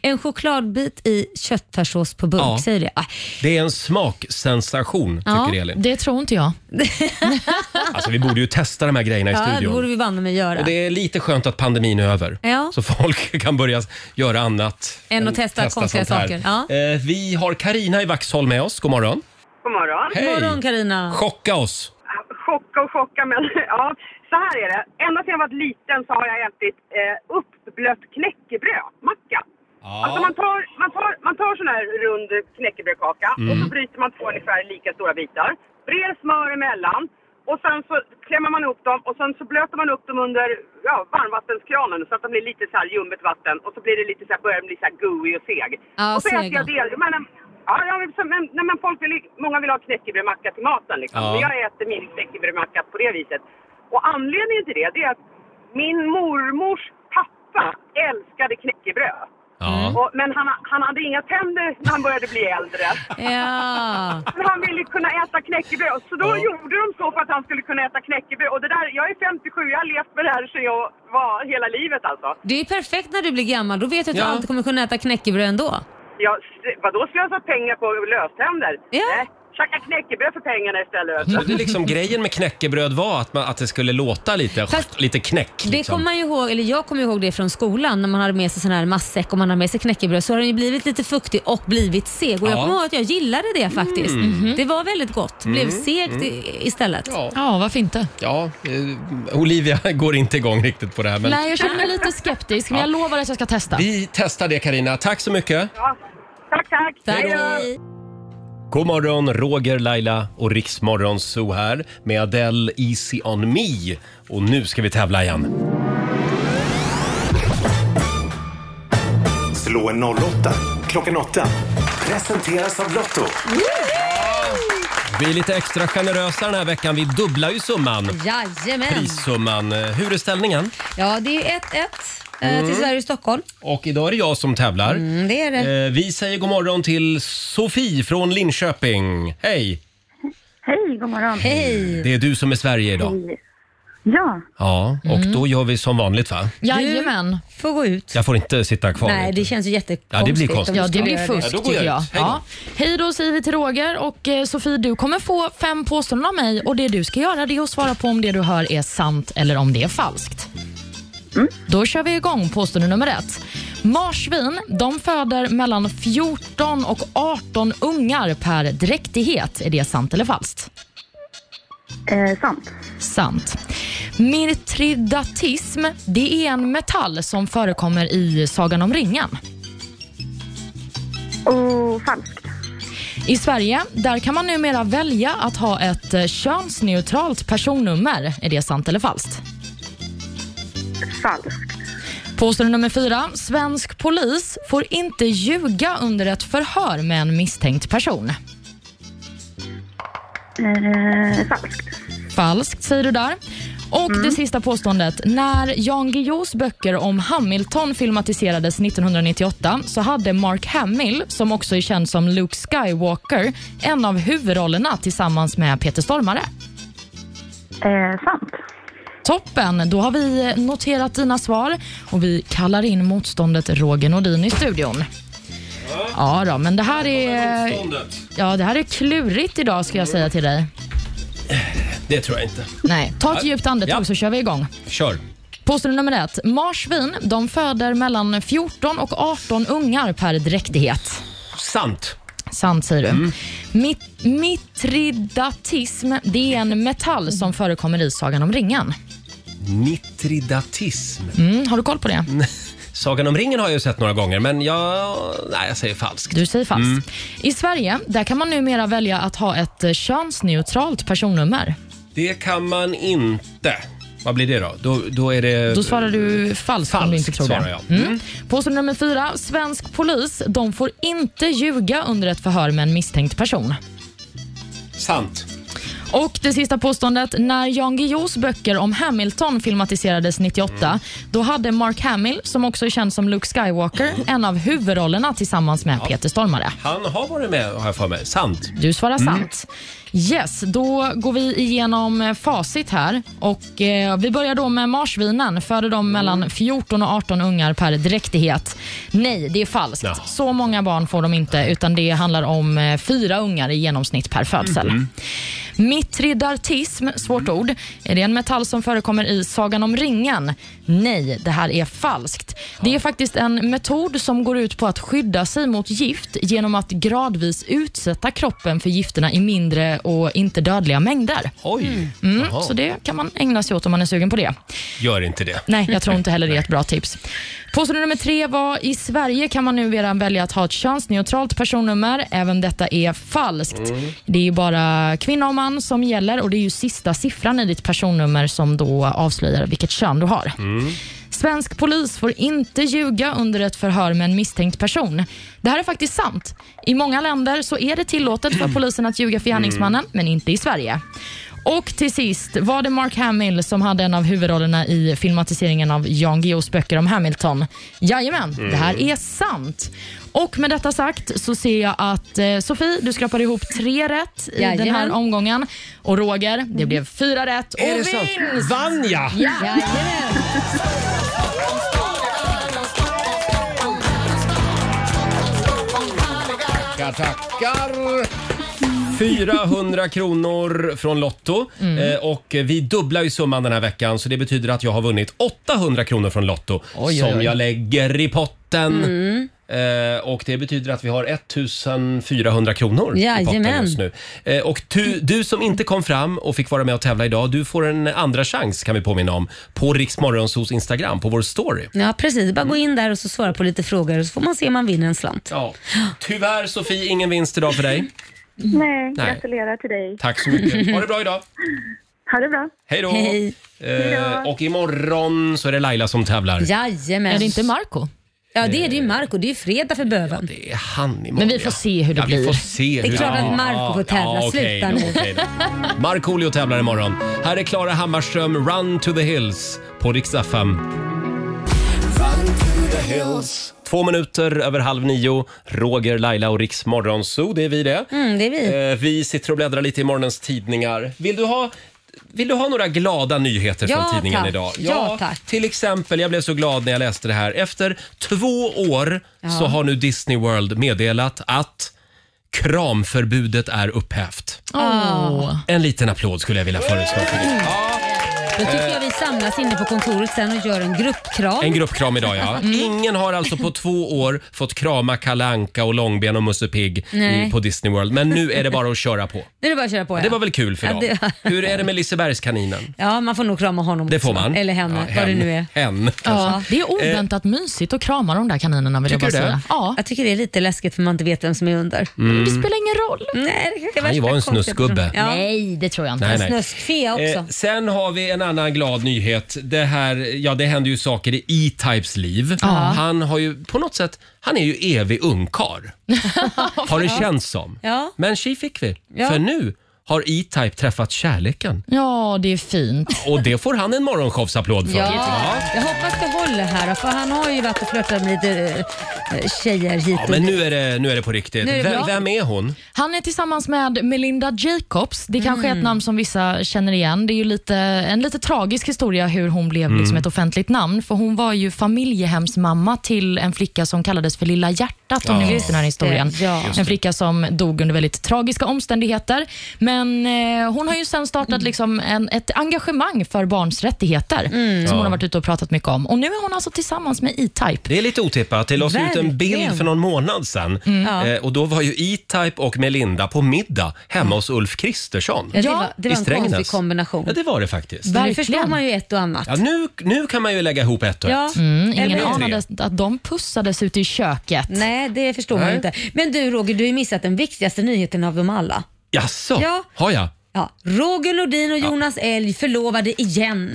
S2: en chokladbit i köttfärssås på burk,
S1: Ja.
S2: säger det. Ah,
S1: Det är en smaksensation, tycker Elin.
S3: det tror inte jag.
S1: Alltså, vi borde ju testa de här grejerna i
S2: Ja, det
S1: studion.
S2: borde vi banne mig göra.
S1: Och det är lite skönt att pandemin är över.
S2: Ja.
S1: Så folk *laughs* kan börja göra annat.
S2: Än att testa konstiga
S1: sånt här.
S2: saker, ja.
S1: Eh, vi har Karina i Vaxholm med oss. God morgon.
S15: God morgon.
S1: Hej. God morgon,
S2: Carina.
S1: Chocka oss.
S15: *laughs* Chocka och chocka, men ja, så här är det. Ända sedan jag var liten så har jag ätit eh, upp rundblött knäckebrödmacka. Alltså man tar, man, tar, man tar sån här rund knäckebrödkaka och så
S9: Mm.
S15: bryter man två ungefär lika stora bitar. Brer smör emellan och sen så klämmer man upp dem och sen så blöter man upp dem under ja, varmvattenskranen så att de blir lite så här ljummet vatten och så blir det lite så här, börjar de bli så här gooey och seg.
S9: Ja,
S15: och så äter
S9: sega.
S15: jag del, men, ja, ja, men, så- men, nej, men folk vill, ju- många vill ha knäckebrödmacka till maten liksom.
S9: Ja.
S15: Men jag äter min knäckebrödmacka på det viset. Och anledningen till det, det är att min mormors pappa älskade knäckebröd. Och, men han, han hade inga tänder när han började bli äldre.
S2: Ja.
S15: Men han ville kunna äta knäckebröd. Så då gjorde de så för att han skulle kunna äta knäckebröd. Och det där, jag är 57, jag har levt med det här sedan jag var hela livet alltså.
S2: Det är perfekt när du blir gammal. Då vet du att
S15: Ja.
S2: du alltid kommer kunna äta knäckebröd ändå.
S15: Jag, vadå slösa pengar på löständer?
S2: Ja.
S15: Nej, käka knäckebröd för pengarna istället. vet du.
S1: Trodde liksom grejen med knäckebröd var att, man, att det skulle låta lite,
S2: Fast-
S1: lite knäck.
S2: Det
S1: Liksom.
S2: kommer man ju ihåg, eller jag kommer ihåg det från skolan när man hade med sig sån här matsäck och man hade med sig knäckebröd så har den ju blivit lite fuktig och blivit seg. Och jag
S1: Ja.
S2: kommer ihåg att jag gillade det faktiskt.
S1: Mm. Mhm.
S2: Det var väldigt gott.
S1: Mm.
S2: Blev segt i- istället. Ja,
S3: varför inte?
S1: Ja, eh, Olivia *laughs* går inte igång riktigt på det här. Men
S3: Nej, jag känner mig lite skeptisk, men
S1: Ja.
S3: jag lovar att jag ska testa.
S1: vi testar det Karina. Tack så mycket.
S15: Tack, tack.
S3: Tack.
S15: Hej då.
S1: God morgon, Roger, Laila och Riksmorgon Zoo här med Adele Easy On Me. Och nu ska vi tävla igen.
S8: Slå en 08 klockan 8. Presenteras av Lotto.
S1: Vi är lite extra generösa den här veckan. Vi dubblar ju summan.
S2: Jajamän.
S1: Prissumman. Eh, Hur är ställningen?
S2: Ja, det är 1-1 eh,
S1: Mm.
S2: till Sverige och Stockholm.
S1: Och idag är det jag som tävlar.
S2: Mm, det är det.
S1: Eh, Vi säger god morgon till Sofie från Linköping. Hej!
S10: Hej, god morgon.
S2: Hej.
S1: Det är du som är Sverige idag.
S10: Ja,
S1: Ja, och
S2: Mm.
S1: då gör vi som vanligt va?
S3: Jajamän.
S2: Får gå ut.
S1: Jag får inte sitta kvar.
S2: Nej, det känns ju jättekonstigt.
S1: Ja, det blir konstigt.
S2: om du
S1: Ja, det
S2: ska
S1: blir
S2: göra
S1: fusk, Ja, då går tycker jag ut. jag. Hej då.
S3: Ja. Hej då säger vi till Roger och eh, Sofie, du kommer få fem påståenden av mig och det du ska göra det är att svara på om det du hör är sant eller om det är falskt. Då kör vi igång påstående nummer ett. Marsvin de föder mellan 14 och 18 ungar per dräktighet. Är det sant eller falskt?
S10: sant.
S3: Sant. Myrtridatism det är en metall som förekommer i Sagan om ringen.
S10: Och falskt.
S3: I Sverige där kan man numera välja att ha ett eh, könsneutralt personnummer. Är det sant eller falskt?
S10: Falskt.
S3: Påstående nummer fyra. Svensk polis får inte ljuga under ett förhör med en misstänkt person.
S10: Eh, falskt.
S3: Falskt säger du där. Och
S10: Mm.
S3: det sista påståendet. När Jan Guillous böcker om Hamilton filmatiserades 1998 så hade Mark Hamill, som också är känd som Luke Skywalker, en av huvudrollerna tillsammans med Peter Stormare.
S10: Eh, sant.
S3: Toppen, då har vi noterat dina svar och vi kallar in motståndet Roger Nordin i studion. Ja då, men det här är... Ja, det här är klurigt idag ska jag säga till dig.
S1: Det tror jag inte.
S3: Nej, ta ett djupt andetag så kör vi igång.
S1: Kör.
S3: Påstående nummer ett. Marsvin de föder mellan 14 och 18 ungar per dräktighet.
S1: Sant.
S3: Sant säger du. Mit- mitridatism det är en metall som förekommer i Sagan om ringen.
S1: Nitridatism.
S3: Mm, har du koll på det?
S1: Sagan om ringen har jag ju sett några gånger, men jag... Nej, jag säger falskt.
S3: Du säger falskt. I Sverige där kan man numera välja att ha ett eh, könsneutralt personnummer.
S1: Det kan man inte. Vad blir det då? Då, då är det...
S3: Då svarar du Eh, falskt, om du inte tror
S1: svarar
S3: det.
S1: jag.
S3: Mm. Påstående nummer fyra. Svensk polis de får inte ljuga under ett förhör med en misstänkt person.
S1: Sant.
S3: Och det sista påståendet. När Jan Guillous böcker om Hamilton filmatiserades 98, då hade Mark Hamill, som också är känd som Luke Skywalker, en av huvudrollerna tillsammans med Peter Stormare.
S1: Han har varit med, har jag för mig. Sant.
S3: Du svarar sant. Yes, då går vi igenom eh, facit här. Och, eh, vi börjar då med marsvinen. Föder de mellan 14 och 18 ungar per dräktighet? Nej, det är falskt. Så många barn får de inte, utan det handlar om eh, fyra ungar i genomsnitt per födsel.
S9: Mhm.
S3: Mitridartism, svårt ord. Är det en metall som förekommer i Sagan om ringen? Nej, det här är falskt. Det är faktiskt en metod som går ut på att skydda sig mot gift genom att gradvis utsätta kroppen för gifterna i mindre och inte dödliga mängder.
S1: Oj.
S3: Mm,
S1: Jaha.
S3: så det kan man ägna sig åt om man är sugen på det.
S1: Gör inte det.
S3: Nej, jag tror inte heller det är ett bra tips. Påstående nummer tre var i Sverige kan man numera välja att ha ett könsneutralt personnummer. Även detta är falskt. Det är ju bara kvinna och man som gäller och det är ju sista siffran i ditt personnummer som då avslöjar vilket kön du har. Svensk polis får inte ljuga under ett förhör med en misstänkt person. Det här är faktiskt sant. I många länder så är det tillåtet för polisen att ljuga för gärningsmannen,
S16: Mm.
S3: men inte i Sverige. Och till sist var det Mark Hamill som hade en av huvudrollerna i filmatiseringen av Jan Guillous böcker om Hamilton. Jajamän,
S16: Mm.
S3: det här är sant. Och med detta sagt så ser jag att eh, Sofie, du skrapade ihop tre rätt i den
S16: Jajamän. Mm.
S3: här omgången. Och Roger, det blev fyra rätt och
S16: Är det sant?
S3: vinst!
S1: Vann jag?
S3: Ja.
S1: Tackar, tackar! 400 kronor från Lotto
S16: Mm.
S1: eh, och vi dubblar ju summan den här veckan så det betyder att jag har vunnit 800 kronor från Lotto
S16: oj,
S1: som
S16: oj. Mm.
S1: jag lägger i potten. Eh, och det betyder att vi har 1400 kronor i potten
S2: Jajamän.
S1: just nu. Eh, och du, du som inte kom fram och fick vara med och tävla idag, du får en andra chans kan vi påminna om på Riksmorgonsos Instagram, på vår story.
S2: Ja, precis. Det är Bara gå in där och så svara på lite frågor och så får man se om man vinner en slant.
S1: Ja. Tyvärr Sofie, ingen vinst idag för dig.
S10: Nej,
S1: Nej.
S10: gratulerar till dig.
S1: Tack så mycket. Ha det bra idag.
S10: Ha det bra.
S1: Hej då!
S10: Hej.
S1: Eh, och imorgon så är det Laila som tävlar.
S2: Jajamän.
S1: Är det Eh.
S3: inte Marco?
S2: Ja, det är det ju Marco. Det är ju fredag för böven.
S1: det är han imorgon.
S2: Men vi får se hur det
S1: ja, Vi
S2: blir.
S1: får se
S2: Det är
S1: hur
S2: klart att
S1: Ja,
S2: Marco får tävla.
S1: Ja, okej
S2: Sluta
S1: då,
S2: nu.
S1: okej då. Markoolio tävlar imorgon. Här är Klara Hammarström, Run to the Hills på Rix FM. Två minuter över halv nio. Roger, Laila och Rix Morgonzoo, det är vi det.
S2: Mm, det är vi.
S1: Eh, vi sitter och bläddrar lite i morgonens tidningar. Vill du ha, vill du ha några glada nyheter
S2: Ja,
S1: från tidningen
S2: tack.
S1: idag?
S2: Ja, tack.
S1: Till exempel, jag blev så glad när jag läste det här. Efter två år
S2: Ja.
S1: så har nu Disney World meddelat att kramförbudet är upphävt.
S16: Ah.
S2: Åh.
S1: En liten applåd skulle jag vilja föreslå. För
S2: Mm.
S1: det.
S2: Då tycker jag vi samlas inne på kontoret sen och gör en gruppkram.
S1: En gruppkram idag ja.
S2: Mm.
S1: Ingen har alltså på två år fått krama Kalle Anka och Långben och Musse Pigg
S2: Nej.
S1: i- på Disney World. Men nu är det bara att köra på.
S2: Nu är det bara att köra på.
S1: Ja,
S2: Ja.
S1: det var väl kul för
S2: Ja,
S1: dem.
S2: det-
S1: Hur är det med Lisebergskaninen?
S2: Ja, man får nog krama honom
S1: Det
S2: också.
S1: får man.
S2: Eller henne, vad det nu är.
S1: Hen.
S3: Ja, det är
S1: Eh,
S3: oväntat mysigt att krama de där kaninerna vill jag
S1: Tycker
S3: bara
S1: du det?
S3: säga. Ja.
S2: Jag tycker det är lite läskigt för man inte vet vem som är under.
S1: Mm. Det
S3: spelar ingen roll.
S2: Nej, det kanske är
S1: Kan ju
S2: värsta
S1: vara en
S2: konstiga
S1: snuskgubbe.
S2: personen. Ja.
S3: Nej, det tror jag inte.
S1: Nej, nej.
S2: Snuskfea också.
S1: Eh, sen har vi en annan glad nyhet. Det, här, ja, det händer ju saker i E-Types liv.
S2: Ja.
S1: Han har ju på något sätt, han är ju evig
S3: *laughs*
S1: ungkar. har det känts som.
S3: Ja.
S1: Men tji fick vi.
S3: Ja.
S1: För nu har E-Type träffat kärleken.
S3: Ja, det är fint.
S1: Och det får han en morgonshowsapplåd för.
S2: Ja. Jag hoppas det håller här för han har ju varit och flörtat med lite eh, tjejer hit
S1: Ja,
S2: och
S1: men nu är det, nu är det på riktigt.
S3: Nu är det
S1: vem,
S3: bra.
S1: vem är hon?
S3: Han är tillsammans med Melinda Jacobs. Det kanske är ett namn som vissa känner igen. Det är ju lite, en lite tragisk historia hur hon blev
S16: Mm.
S3: liksom ett offentligt namn. För Hon var ju familjehemsmamma till en flicka som kallades för Lilla hjärtat, om
S16: Ja.
S3: ni minns den här
S16: Just det,
S3: historien.
S16: ja. Just det.
S3: En flicka som dog under väldigt tragiska omständigheter. Men eh, hon har ju sen startat liksom en, ett engagemang för barns rättigheter,
S1: Mm.
S3: som
S1: Ja.
S3: hon har varit ute och pratat mycket om. Och Nu är hon alltså tillsammans med E-Type.
S1: Det är lite otippat. Det lades ut en
S3: Verkligen.
S1: bild för någon månad sedan.
S3: Mm. Ja.
S1: Eh, och då var ju E-Type och Melinda på middag hemma hos Ulf Kristersson.
S2: Ja, det var, det var
S1: i
S2: en
S1: Strängnäs.
S2: konstig kombination.
S1: Ja, det var det faktiskt.
S2: Nu förstår man ju ett och annat.
S1: Ja, nu, nu kan man ju lägga ihop ett och
S2: Ja.
S1: ett.
S2: Mm, ingen
S1: Eller
S2: anade
S1: tre.
S3: Att de pussades ute i köket.
S2: Nej, det förstår man
S1: Nej.
S2: ju inte. Men du Roger, du har ju missat den viktigaste nyheten av dem alla.
S1: Jaså,
S2: Ja.
S1: har jag?
S2: Ja, Roger Nordin och Jonas Elg förlovade igen.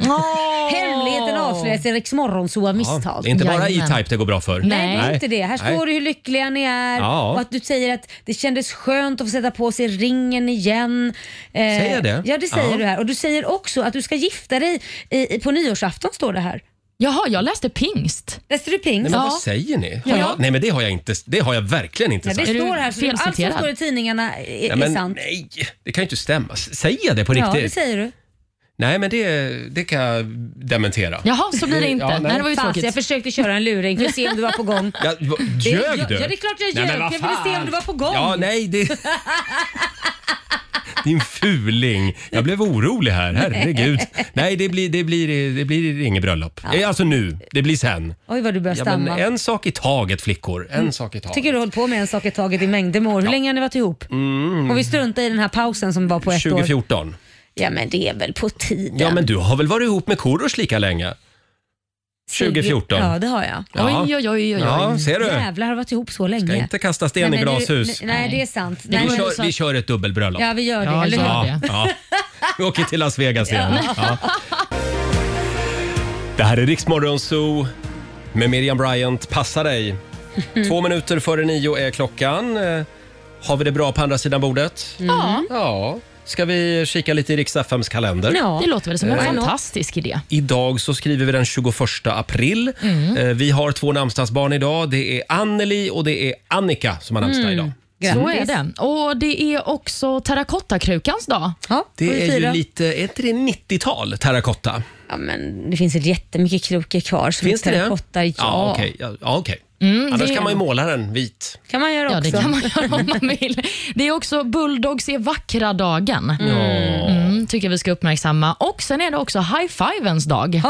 S2: Hemligheten avslöjas i Riks Morgonzoo av
S1: Ja,
S2: misstag.
S1: det är inte bara E-Type det går bra för.
S2: Nej, det är inte det. Här
S1: Nej.
S2: står det hur lyckliga ni är
S1: Ja.
S2: och att du säger att det kändes skönt att få sätta på sig ringen igen. Eh,
S1: Säger jag det?
S2: Ja, det säger
S1: Ja.
S2: du här. Och du säger också att du ska gifta dig i, i, på nyårsafton, står det här.
S3: Jaha, jag läste pingst.
S2: Läste du pingst?
S1: Nej, men vad säger ni? Har
S2: Ja.
S1: jag, nej, men det har jag inte. Det har jag verkligen inte
S2: Ja, det
S1: sagt.
S2: står här, så allt som står i tidningarna är,
S1: Nej, men
S2: är sant.
S1: Nej, det kan ju inte stämma. S- Säger jag det på
S2: Ja,
S1: riktigt?
S2: det säger du.
S1: Nej, men det, det kan jag dementera. Ja,
S2: Fast, Jag försökte köra en luring för att se om du var
S1: *laughs*
S2: på gång.
S1: Ja, va- ljög
S2: jag-
S1: du?
S2: ja, det är klart
S1: Nej,
S2: jag ljög.
S1: men vad
S2: Jag ville se
S1: fan.
S2: om du var på gång.
S1: Ja, nej,
S2: *laughs*
S1: det... Din fuling. Jag blev orolig här,
S2: *laughs*
S1: herregud. Nej, det blir, det blir, det blir inget bröllop.
S2: Ja.
S1: Alltså nu, det blir sen.
S2: Oj, vad du börjar
S1: Ja, men
S2: stamma.
S1: en sak i taget flickor, en
S2: Mm.
S1: sak i taget.
S2: Tycker du har hållit på med en sak i taget i mängder med år. Hur länge har ni varit ihop?
S1: Mm.
S2: Och vi struntar i den här pausen som var på ett år.
S1: 2014.
S2: Ja men det är väl på tiden.
S1: Ja, men du har väl varit ihop med Korosh lika länge? 2014.
S2: Ja, det har jag.
S1: Ja.
S2: Oj, oj, oj, oj, oj.
S1: Ja, ser du?
S2: Jävlar, har varit ihop så länge.
S1: Ska inte kasta sten i
S2: men nu-
S1: glashus.
S2: Nej, nej, det är sant.
S1: Vi,
S2: Nej, men-
S1: kör, vi kör ett dubbelbröllop.
S2: Ja, vi gör det, Ja, eller hur? gör
S1: Ja,
S2: det.
S1: ja. Vi åker till Las Vegas igen. Ja. Det här är Riksmorgon Zoo med Miriam Bryant. Passa dig! Två minuter före nio är klockan. Eh, Har vi det bra på andra sidan bordet?
S3: Ja.
S1: Ja. Ska vi kika lite i riks FMs kalender?
S3: Det låter väl som en
S1: Eh,
S3: fantastisk idé.
S1: Idag så skriver vi den 21 april.
S3: Mm.
S1: Eh, Vi har två namnsdagsbarn idag. Det är Anneli och det är Annika som har namnsdag idag.
S3: Så är det. Och det är också terrakottakrukans dag.
S1: Det är ju lite, är inte det 90-tal, terrakotta?
S2: Ja, men det finns ett jättemycket krokor kvar. Som
S1: Finns det det?
S2: terrakotta, Ja.
S1: Ja, okej. Ja, ja, okej.
S3: Mm,
S1: Annars
S3: det-
S1: kan man ju måla den vit.
S2: kan man göra
S3: ja,
S2: också.
S3: Det kan man göra om man vill. Det är också Bulldogs är vackra dagen.
S1: Ja.
S3: Mm, tycker vi ska uppmärksamma. Och Sen är det också high-fivens dag.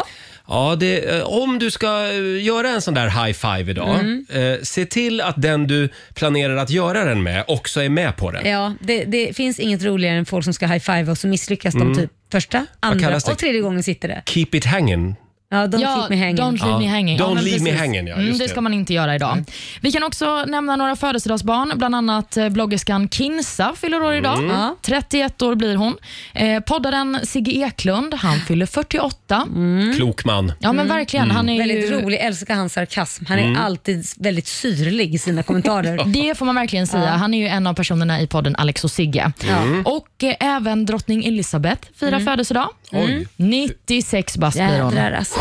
S1: Ja, det, eh, om du ska eh, göra en sån där high five idag,
S2: Mm.
S1: eh, se till att den du planerar att göra den med också är med på den.
S2: Ja, det, det finns inget roligare än folk som ska high-five och så misslyckas
S1: Mm.
S2: de typ första,
S1: Vad
S2: andra
S1: kallas det?
S2: och tredje gången sitter det.
S1: Keep it hanging.
S2: Ja, don't
S3: Ja,
S2: keep me hanging.
S3: Don't leave
S1: Ja.
S3: me hanging.
S1: Don't
S3: men
S1: leave me
S3: precis.
S1: hanging, ja,
S3: mm,
S1: just
S3: det
S1: det.
S3: ska man inte göra idag. Vi kan också nämna några födelsedagsbarn, bland annat eh, bloggerskan Kinsa fyller år idag.
S2: Mm. Ja.
S3: 31 år blir hon. Eh, poddaren Sigge Eklund, han fyller 48.
S1: Klok man.
S3: Ja, men verkligen.
S1: Mm.
S3: Han är
S2: Mm. väldigt
S3: ju...
S2: rolig, älskar hans sarkasm. Han är
S3: Mm.
S2: alltid väldigt syrlig i sina
S3: *laughs*
S2: kommentarer.
S3: Det får man verkligen säga.
S2: Ja.
S3: Han är ju en av personerna i podden Alex och Sigge.
S2: Ja. Mm.
S3: Och eh, även drottning Elizabeth firar
S2: Mm.
S3: födelsedag.
S2: Oj.
S3: Mm. 96 bast blir hon.
S2: Jädrar alltså.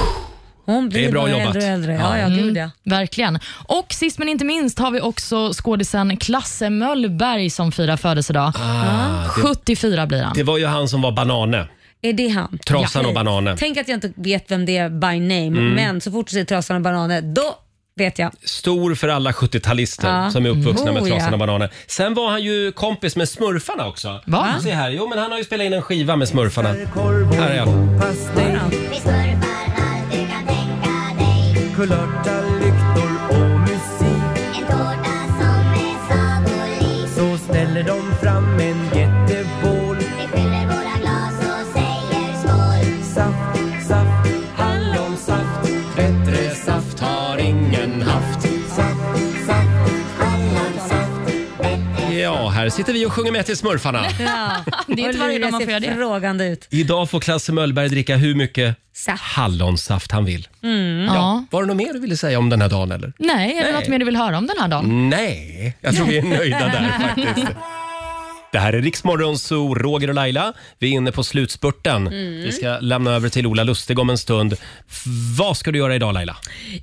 S2: Hon blir
S3: Det är bra
S2: bara
S3: jobbat.
S2: äldre och äldre. Ja, ja,
S3: Mm,
S2: gud ja.
S3: Verkligen. Och sist men inte minst har vi också skådisen Klasse Möllberg som firar födelsedag.
S1: Ah, det-
S3: 74 blir han.
S1: Det var ju han som var banane.
S2: Är det han?
S1: Trasan och bananen.
S2: Tänk att jag inte vet vem det är by name,
S1: Mm.
S2: men så fort du säger trasan och bananen, då vet jag.
S1: Stor för alla 70-talister
S2: Ja.
S1: som är uppvuxna med
S2: Oh,
S1: Trasan
S2: ja.
S1: och bananen. Sen var han ju kompis med Smurfarna också.
S2: Va?
S1: Se här. Jo, men han har ju spelat in en skiva med Smurfarna. Här är han.
S9: Kulörta lyktor och musik En tårta som är sagolik Så ställer de fram en jättebål Vi fyller våra glas och säger skål Saft, saft, hallonsaft Bättre saft har ingen haft Saft, saft, hallonsaft
S1: Ja, här sitter vi och sjunger med till Smurfarna.
S2: Ja.
S3: Det är inte
S2: Och
S3: varje dag
S2: Luleå
S3: man får
S2: ser
S3: göra det.
S2: frågande ut.
S1: Idag får Klasse Möllberg dricka hur mycket
S2: Saft.
S1: hallonsaft han vill.
S3: Mm. Ja.
S1: Var det något mer du ville säga om den här dagen eller?
S3: Nej, Mm. är det något mer du vill höra om den här dagen?
S1: Nej, jag tror vi är nöjda
S2: *laughs*
S1: där faktiskt. Det här är Riksmorgon Zoo, Roger och Laila. Vi är inne på slutspurten.
S2: Mm.
S1: Vi ska lämna över till Ola Lustig om en stund. F- Vad ska du göra idag Laila?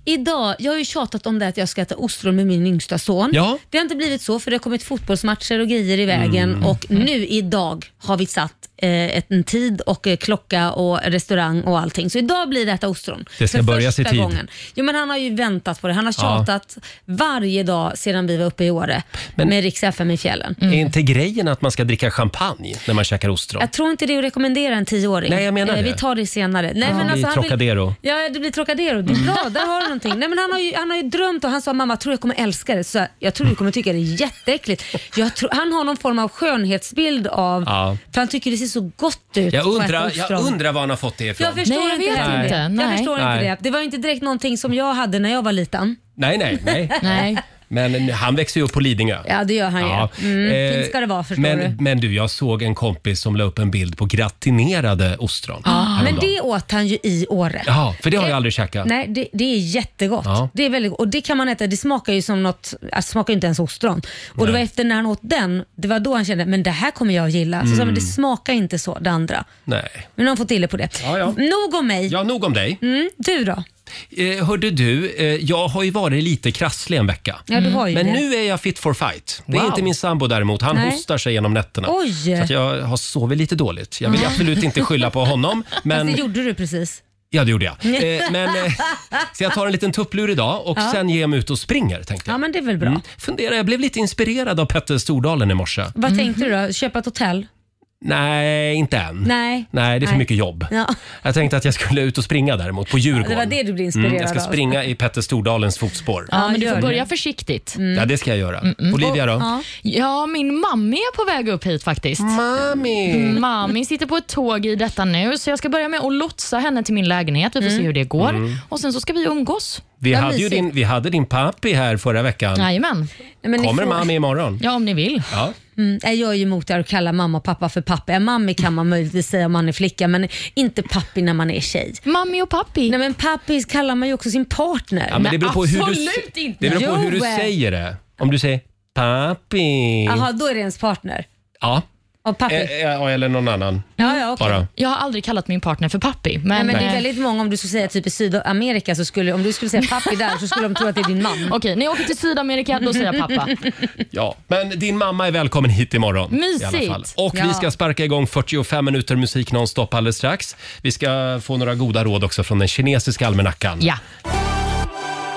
S2: Idag, jag har ju tjatat om det att jag ska äta ostron med min yngsta son.
S1: Ja.
S2: Det har inte blivit så för det har kommit fotbollsmatcher och grejer i vägen
S1: Mm.
S2: och nu idag har vi satt eh, ett- en tid och eh, klocka och restaurang och allting. Så idag blir det äta ostron.
S1: Det ska
S2: för
S1: börjas i
S2: första
S1: tid.
S2: Gången. Jo, men han har ju väntat på det. Han har
S1: Ja.
S2: tjatat varje dag sedan vi var uppe i Åre med Rix FM i fjällen.
S1: Är inte grejen att man ska dricka champagne när man käkar ostron?
S2: Mm. Jag tror inte det är att rekommendera en tioåring.
S1: Nej, jag menar
S2: Eh,
S1: det.
S2: Vi tar det senare. Nej,
S1: Det
S2: men alltså,
S1: blir
S2: han vill-
S1: Trocadero.
S2: Ja, det blir Trocadero. Det är
S1: Mm.
S2: bra, där har du någonting. Nej, men han, har ju, han har ju drömt och han sa mamma, tror jag kommer älska det. Så jag, jag tror du kommer tycka det är jätteäckligt. Jag tror, han har någon form av skönhetsbild av,
S1: Ja.
S2: för han tycker det ser så gott ut.
S1: Jag
S2: på ett
S1: undrar, jag
S2: ostron.
S1: undrar var han har fått det ifrån.
S2: Jag förstår
S3: Nej, jag
S2: inte,
S3: vet
S2: det.
S1: inte.
S2: Jag
S1: Nej.
S2: förstår
S1: Nej.
S2: inte det. Det var ju inte direkt någonting som jag hade när jag var liten.
S1: Nej, nej,
S2: *laughs*
S1: nej. Men han växer ju upp på Lidingö.
S2: Ja, det gör han
S1: Ja.
S2: ju. Mm,
S1: Eh,
S2: fint ska det vara förstår
S1: men,
S2: du.
S1: Men du, jag såg en kompis som la upp en bild på gratinerade ostron.
S2: Ja. Ah, Men
S1: häromdagen.
S2: det åt han ju i Åre.
S1: Ja, för det har jag aldrig käkat.
S2: Nej, det, det är jättegott.
S1: Ja.
S2: Det är väldigt, och det kan man äta, det smakar ju som något, alltså, smakar ju inte ens ostron. Och det var efter när han åt den, det var då han kände, men det här kommer jag att gilla. Så sa han,
S1: Mm.
S2: men det smakar inte så det andra.
S1: Nej.
S2: Men nu har han fått till det på det.
S1: Ja, ja.
S2: Nog om mig.
S1: Ja, nog om dig.
S2: Mm, du då?
S1: Eh, hörde du, eh, jag har ju varit lite krasslig en vecka.
S2: Ja, du har ju
S1: Mm. Men
S2: det.
S1: nu är jag fit for fight. Det är
S2: Wow.
S1: inte min sambo däremot. Han
S2: Nej.
S1: hostar sig genom nätterna.
S2: Oj.
S1: Så att jag har sovit lite dåligt. Jag vill
S2: Ja.
S1: absolut inte skylla på
S2: *laughs*
S1: honom.
S2: Fast
S1: Men...
S2: det gjorde du precis.
S1: Ja, det gjorde jag.
S2: *laughs*
S1: Eh, men, eh, så jag tar en liten tupplur idag och
S2: Ja.
S1: sen ger jag mig ut och springer. Tänkte jag.
S2: Ja, men det är väl bra.
S1: Mm. Fundera, jag blev lite inspirerad av Petter Stordalen i morse.
S2: Vad tänkte du då? Köpa ett hotell?
S1: Nej, inte än.
S2: Nej.
S1: Nej, det är för mycket jobb.
S2: Ja.
S1: Jag tänkte att jag skulle ut och springa däremot på Djurgården. Mm,
S2: det var det du blev inspirerad
S1: Jag ska
S2: av.
S1: springa i Petter Stordalens fotspår.
S3: Ja, men du
S2: gör
S3: får börja
S2: det.
S3: försiktigt.
S2: Mm.
S1: Ja, det ska jag göra. Olivia då?
S3: Ja. ja, min mammi är på väg upp hit faktiskt.
S1: Mami!
S2: Mm.
S3: Mami sitter på ett tåg i detta nu, så jag ska börja med att lotsa henne till min lägenhet. Vi får se hur det går.
S1: Mm.
S3: Och Sen så ska vi umgås.
S1: Vi,
S3: Vad
S1: hade ju
S3: mysigt.
S1: din, vi hade din pappi här förra veckan.
S3: Jajamän.
S1: Kommer Mami imorgon?
S3: Ja, om ni vill.
S1: Ja.
S2: Mm, nej, jag är ju emot det här att kalla mamma och pappa för pappa. Ja, mammi kan man möjligtvis säga om man är flicka, men inte pappi när man är tjej.
S3: Mammi och pappi?
S2: Nej, men pappi kallar man ju också sin partner.
S1: Ja, men det beror på hur du, Det beror på hur du
S2: Jo.
S1: säger det. Om du säger pappi.
S2: Jaha, då är det ens partner.
S1: Ja.
S2: Och pappi.
S1: Eh, eh, eller någon annan.
S2: Ja, ja, okej.
S1: Bara.
S3: Jag har aldrig kallat min partner för pappi. Men,
S2: Nej, men det är
S3: eh,
S2: väldigt många, om du skulle säga typ i Sydamerika, så skulle, om du skulle säga pappi där så skulle de tro att det är din man.
S3: Okej, när jag åker till Sydamerika då säger jag pappa.
S1: Ja, men din mamma är välkommen hit imorgon. I alla
S3: Mysigt.
S1: fall. Och
S3: Ja.
S1: vi ska sparka igång 45 minuter musik nonstop alldeles strax. Vi ska få några goda råd också från den kinesiska almanackan.
S3: Ja.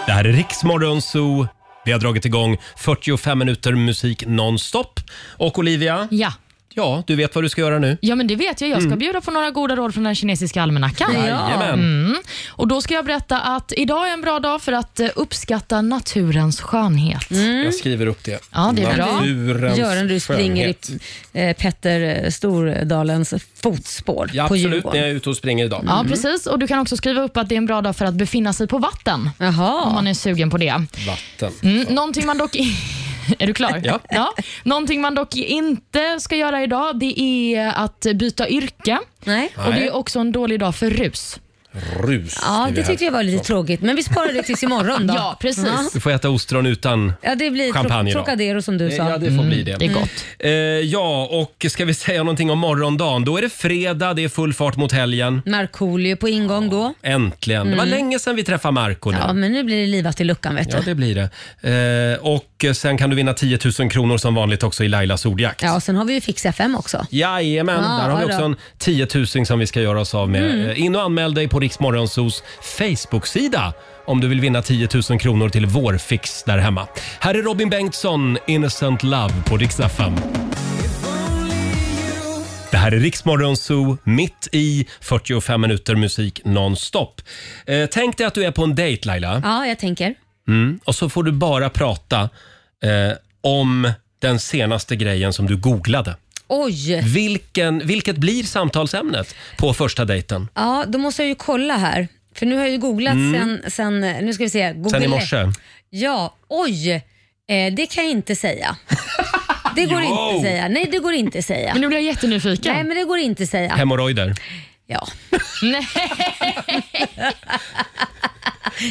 S1: Det här är Riksmorgon Zoo. Vi har dragit igång 45 minuter musik nonstop. Och Olivia?
S3: Ja.
S1: Ja, du vet vad du ska göra nu?
S3: Ja, men det vet jag. Jag ska
S1: Mm.
S3: bjuda på några goda råd från den kinesiska almanackan.
S1: Jajamän.
S3: Mm. Och då ska jag berätta att idag är en bra dag för att eh, uppskatta naturens skönhet.
S1: Jag skriver upp det.
S3: Ja, det är bra.
S1: Naturens
S2: Göran, du springer
S1: skönhet.
S2: i eh, Petter eh, Stordalens fotspår
S1: Ja,
S2: på
S1: absolut, när
S2: Djurgården.
S1: jag är ute och springer idag.
S3: Ja, precis. Och Du kan också skriva upp att det är en bra dag för att befinna sig på vatten. Om man är sugen på det.
S1: Vatten.
S3: Mm, någonting man dock... *laughs* Är du klar?
S1: Ja.
S3: Någonting man dock inte ska göra idag det är att byta yrke.
S2: Nej.
S3: Och Det är också en dålig dag för rus.
S1: Rus.
S2: Ja,
S1: i
S2: det
S1: här.
S2: tyckte jag var lite tråkigt, men vi sparar det
S1: *laughs*
S2: tills imorgon då.
S3: Ja, precis.
S1: Du får äta ostron utan
S2: Ja, det blir
S1: champagne
S2: tro-
S1: idag.
S2: Trocadero som du Mm. sa.
S1: Ja, det får bli det. Eh, ja, och ska vi säga någonting om morgondagen? Då är det fredag, det är full fart mot helgen.
S2: Markoolio på ingång då.
S1: Äntligen. Det var
S2: Mm.
S1: länge sedan vi träffade Marco nu.
S2: Ja, men nu blir det livat i luckan vet du.
S1: Ja, det blir det. Eh, och sen kan du vinna 10 000 kronor som vanligt också i Lailas ordjakt.
S2: Ja, och sen har vi ju Fix FM också.
S1: Jajamän,
S2: Ja,
S1: där har vi
S2: vadå?
S1: också en 10 000 som vi ska göra oss av med.
S2: Mm.
S1: Eh, In och anmäl dig på Riksmorgonsos Facebook-sida om du vill vinna 10 000 kronor till vårfix där hemma. Här är Robin Bengtsson, Innocent Love på Rix FM. Det här är Riksmorgon Zoo, mitt i 45 minuter musik nonstop. Eh, tänk dig att du är på en dejt Laila.
S2: Ja, jag tänker.
S1: Mm. Och så får du bara prata eh, om den senaste grejen som du googlade.
S2: Oj!
S1: Mm. Vilken, vilket blir samtalsämnet på första dejten?
S2: Ja, då måste jag ju kolla här. För nu har jag ju googlat
S1: Mm.
S2: sen, sen, nu ska vi se, Google.
S1: Sen i morse.
S2: Ja, oj! Eh, det kan jag inte säga. Det
S1: *laughs*
S2: går
S1: Jo.
S2: inte säga. Nej, det går inte säga. Men
S3: nu blir jag jättenyfiken.
S2: Nej, men det går inte säga.
S1: Hemorrojder.
S2: Ja.
S3: Nej.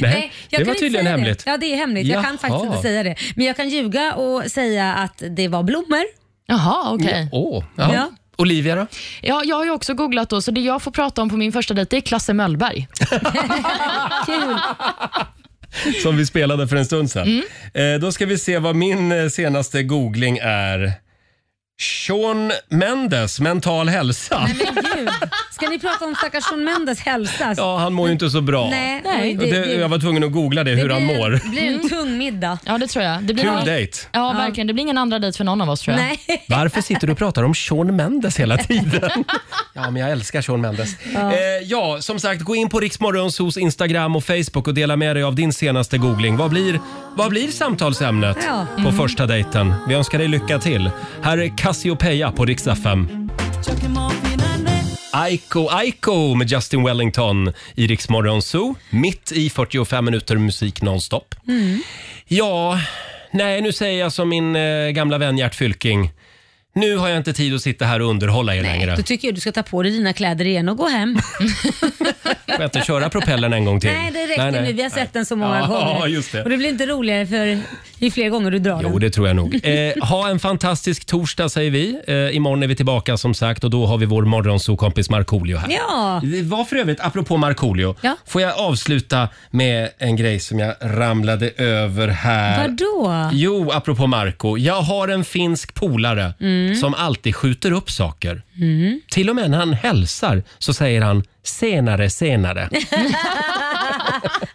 S1: Nej,
S2: jag
S1: det
S2: kan
S1: var
S2: inte
S1: tydligen
S2: säga
S1: hemligt.
S2: Det. Ja, det är hemligt. Jag kan
S1: Jaha.
S2: faktiskt inte säga det. Men jag kan ljuga och säga att det var blommor.
S3: Jaha, okej.
S1: Åh, ja.
S2: Ja.
S1: Olivia då?
S3: Ja, jag har ju också googlat då, så det jag får prata om på min första dejt det är Klasse Möllberg.
S1: *laughs*
S2: Kul.
S1: Som vi spelade för en stund sedan.
S2: Mm.
S1: Eh, då ska vi se vad min eh, senaste googling är. Sean Mendes, mental hälsa.
S2: Nej, men gud. Ska ni prata om stackars Shawn Mendes hälsa?
S1: Ja, han mår ju inte så bra.
S2: Nej, Nej.
S1: Och det,
S2: det-
S1: jag var tvungen att googla det, hur han mår. Mm.
S2: Det blir en tung middag.
S3: Ja, det tror jag. Det blir
S1: Kul
S3: någon-
S1: dejt.
S3: Ja, verkligen. Det blir ingen andra dejt för någon av oss tror jag.
S2: Nej.
S1: Varför sitter du och pratar om Sean Mendes hela tiden? Ja, men jag älskar Sean Mendes. Ja,
S2: Ja.
S1: eh, ja som sagt, gå in på Riksmorgonsos Instagram och Facebook och dela med dig av din senaste googling. Vad blir, vad blir samtalsämnet
S2: Ja. Mm.
S1: på första dejten? Vi önskar dig lycka till. Här är Cassiopeia på Rix FM. Aiko Aiko med Justin Wellington i Riksmorgonso. Mitt i 45 minuter musik nonstop. Ja, nej nu säger jag som min eh, gamla vän Gert Fylking. Nu har jag inte tid att sitta här och underhålla er längre.
S2: Då tycker jag du ska ta på dig dina kläder igen och
S1: *laughs*
S2: gå hem.
S1: Får jag inte köra propellern en gång till?
S2: Nej, det räcker nu. Vi har sett den så många
S1: Ja, *laughs*
S2: gånger.
S1: just det.
S2: Och det blir inte roligare för ju fler gånger du drar
S1: Jo,
S2: den.
S1: det tror jag nog. Eh, ha en fantastisk torsdag säger vi. Eh, imorgon är vi tillbaka som sagt och då har vi vår morgonsokompis Markoolio här.
S2: Ja.
S1: Det var för övrigt, apropå Markoolio,
S2: Ja.
S1: får jag avsluta med en grej som jag ramlade över här.
S2: Vadå?
S1: Jo, apropå Marco. Jag har en finsk polare
S2: Mm.
S1: som alltid skjuter upp saker.
S2: Mm.
S1: Till och med när han hälsar så säger han senare,
S2: *laughs*
S1: senare.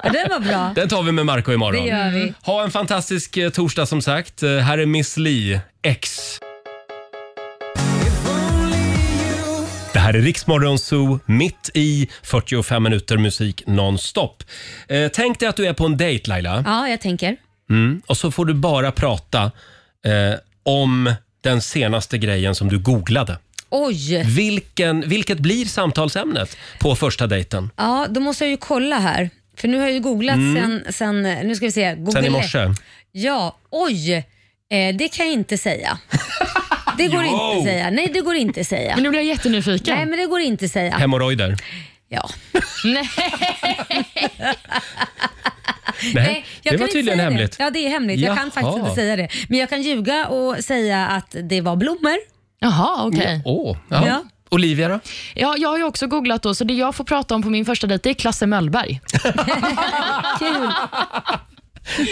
S2: Ja, den var bra.
S1: Den tar vi med Marco imorgon.
S2: Det gör vi.
S1: Ha en fantastisk eh, torsdag som sagt. Eh, Här är Miss Li, X. här är Riksmorgon Zoo, mitt i 45 minuter musik nonstop. Eh, tänk dig att du är på en dejt Laila.
S2: Ja, jag tänker.
S1: Mm. Och så får du bara prata eh, om den senaste grejen som du googlade.
S2: Oj!
S1: Vilken, vilket blir samtalsämnet på första dejten?
S2: Ja, då måste jag ju kolla här. För nu har jag ju googlat
S1: Mm.
S2: sen, sen, nu ska vi se, Google.
S1: Sen i morse.
S2: Ja, oj. Eh, det kan jag inte säga. Det
S1: *laughs*
S2: går
S1: Jo.
S2: inte säga. Nej, det går inte säga. Men nu blir jag jättenyfiken. Nej, men det går inte säga.
S1: Hemorrojder.
S2: Ja.
S1: Nej,
S2: jag
S1: det
S2: kan
S1: var
S2: inte
S1: tydligen
S2: säga
S1: hemligt.
S2: Det. Ja, det är hemligt. Jag kan
S1: Jaha.
S2: faktiskt inte säga det. Men jag kan ljuga och säga att det var blommor.
S3: Jaha, okej.
S1: Åh, ja.
S3: Ja.
S1: Olivia då?
S3: Ja, jag har ju också googlat då, så det jag får prata om på min första dejt det är Klasse Möllberg.
S2: Kul.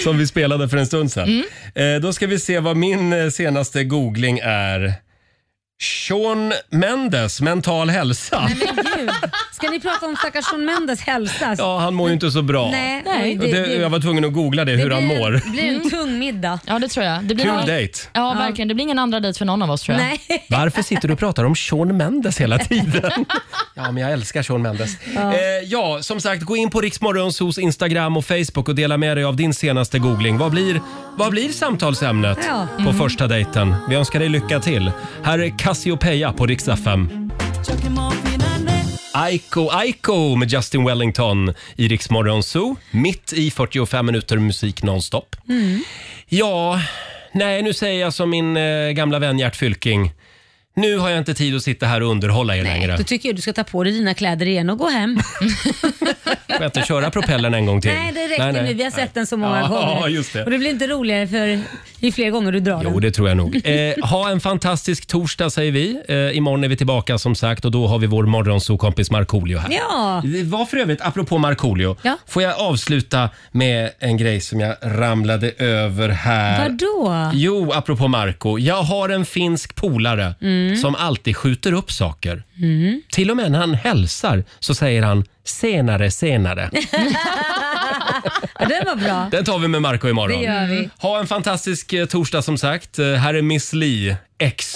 S1: Som vi spelade för en stund sedan.
S2: Mm.
S1: Eh, då ska vi se vad min eh, senaste googling är. Sean Mendes, mental hälsa.
S2: Men gud. Ska ni prata om stackars Shawn Mendes hälsa?
S1: Ja, han mår ju inte så bra.
S2: Nej,
S1: Och
S2: oj,
S1: det, Mm.
S2: det- det-
S1: jag var tvungen att googla det, hur han mår.
S2: Det blir en tung middag.
S3: Ja, det tror jag. Det
S1: Kul dejt.
S3: Ja, verkligen. Det blir ingen andra dejt för någon av oss tror jag.
S2: Nej.
S1: Varför sitter du och pratar om Sean Mendes hela tiden? Ja, men jag älskar Sean Mendes. Ja,
S3: Ja.
S1: eh, ja som sagt, gå in på Riksmorgons hos Instagram och Facebook och dela med dig av din senaste googling. Vad blir, vad blir samtalsämnet
S2: Ja.
S1: på
S2: Mm.
S1: första dejten? Vi önskar dig lycka till. Här är Cassiopeia på Rix FM. Aiko Aiko med Justin Wellington i Rix Morgon Zoo. Mitt i 45 minuter musik nonstop.
S9: Mm.
S1: Ja, nej nu säger jag som min eh, gamla vän Gert Fylking. Nu har jag inte tid att sitta här och underhålla er längre.
S2: Då tycker jag du ska ta på dig dina kläder igen och gå hem.
S1: Får jag inte köra propellern en gång till?
S2: Nej, det räcker nu. Vi har sett den så många
S1: Ja, *laughs*
S2: gånger.
S1: just det.
S2: Och det blir inte roligare för ju fler gånger du drar
S1: Jo,
S2: den.
S1: det tror jag
S2: *laughs*
S1: nog. Eh, ha en fantastisk torsdag säger vi. Eh, imorgon är vi tillbaka som sagt och då har vi vår morgonsokompis Markoolio här.
S2: Ja.
S1: Det var för övrigt, apropå Markoolio, får jag avsluta med en grej som jag ramlade över här.
S2: Vadå?
S1: Jo, apropå Marco. Jag har en finsk polare
S2: Mm.
S1: som alltid skjuter upp saker.
S2: Mm.
S1: Till och med när han hälsar så säger han senare, senare.
S2: Ja, den var bra.
S1: Den tar vi med Marco imorgon. Mm.
S2: Det gör vi.
S1: Ha en fantastisk eh, torsdag som sagt. Eh, Här är Miss Li, X.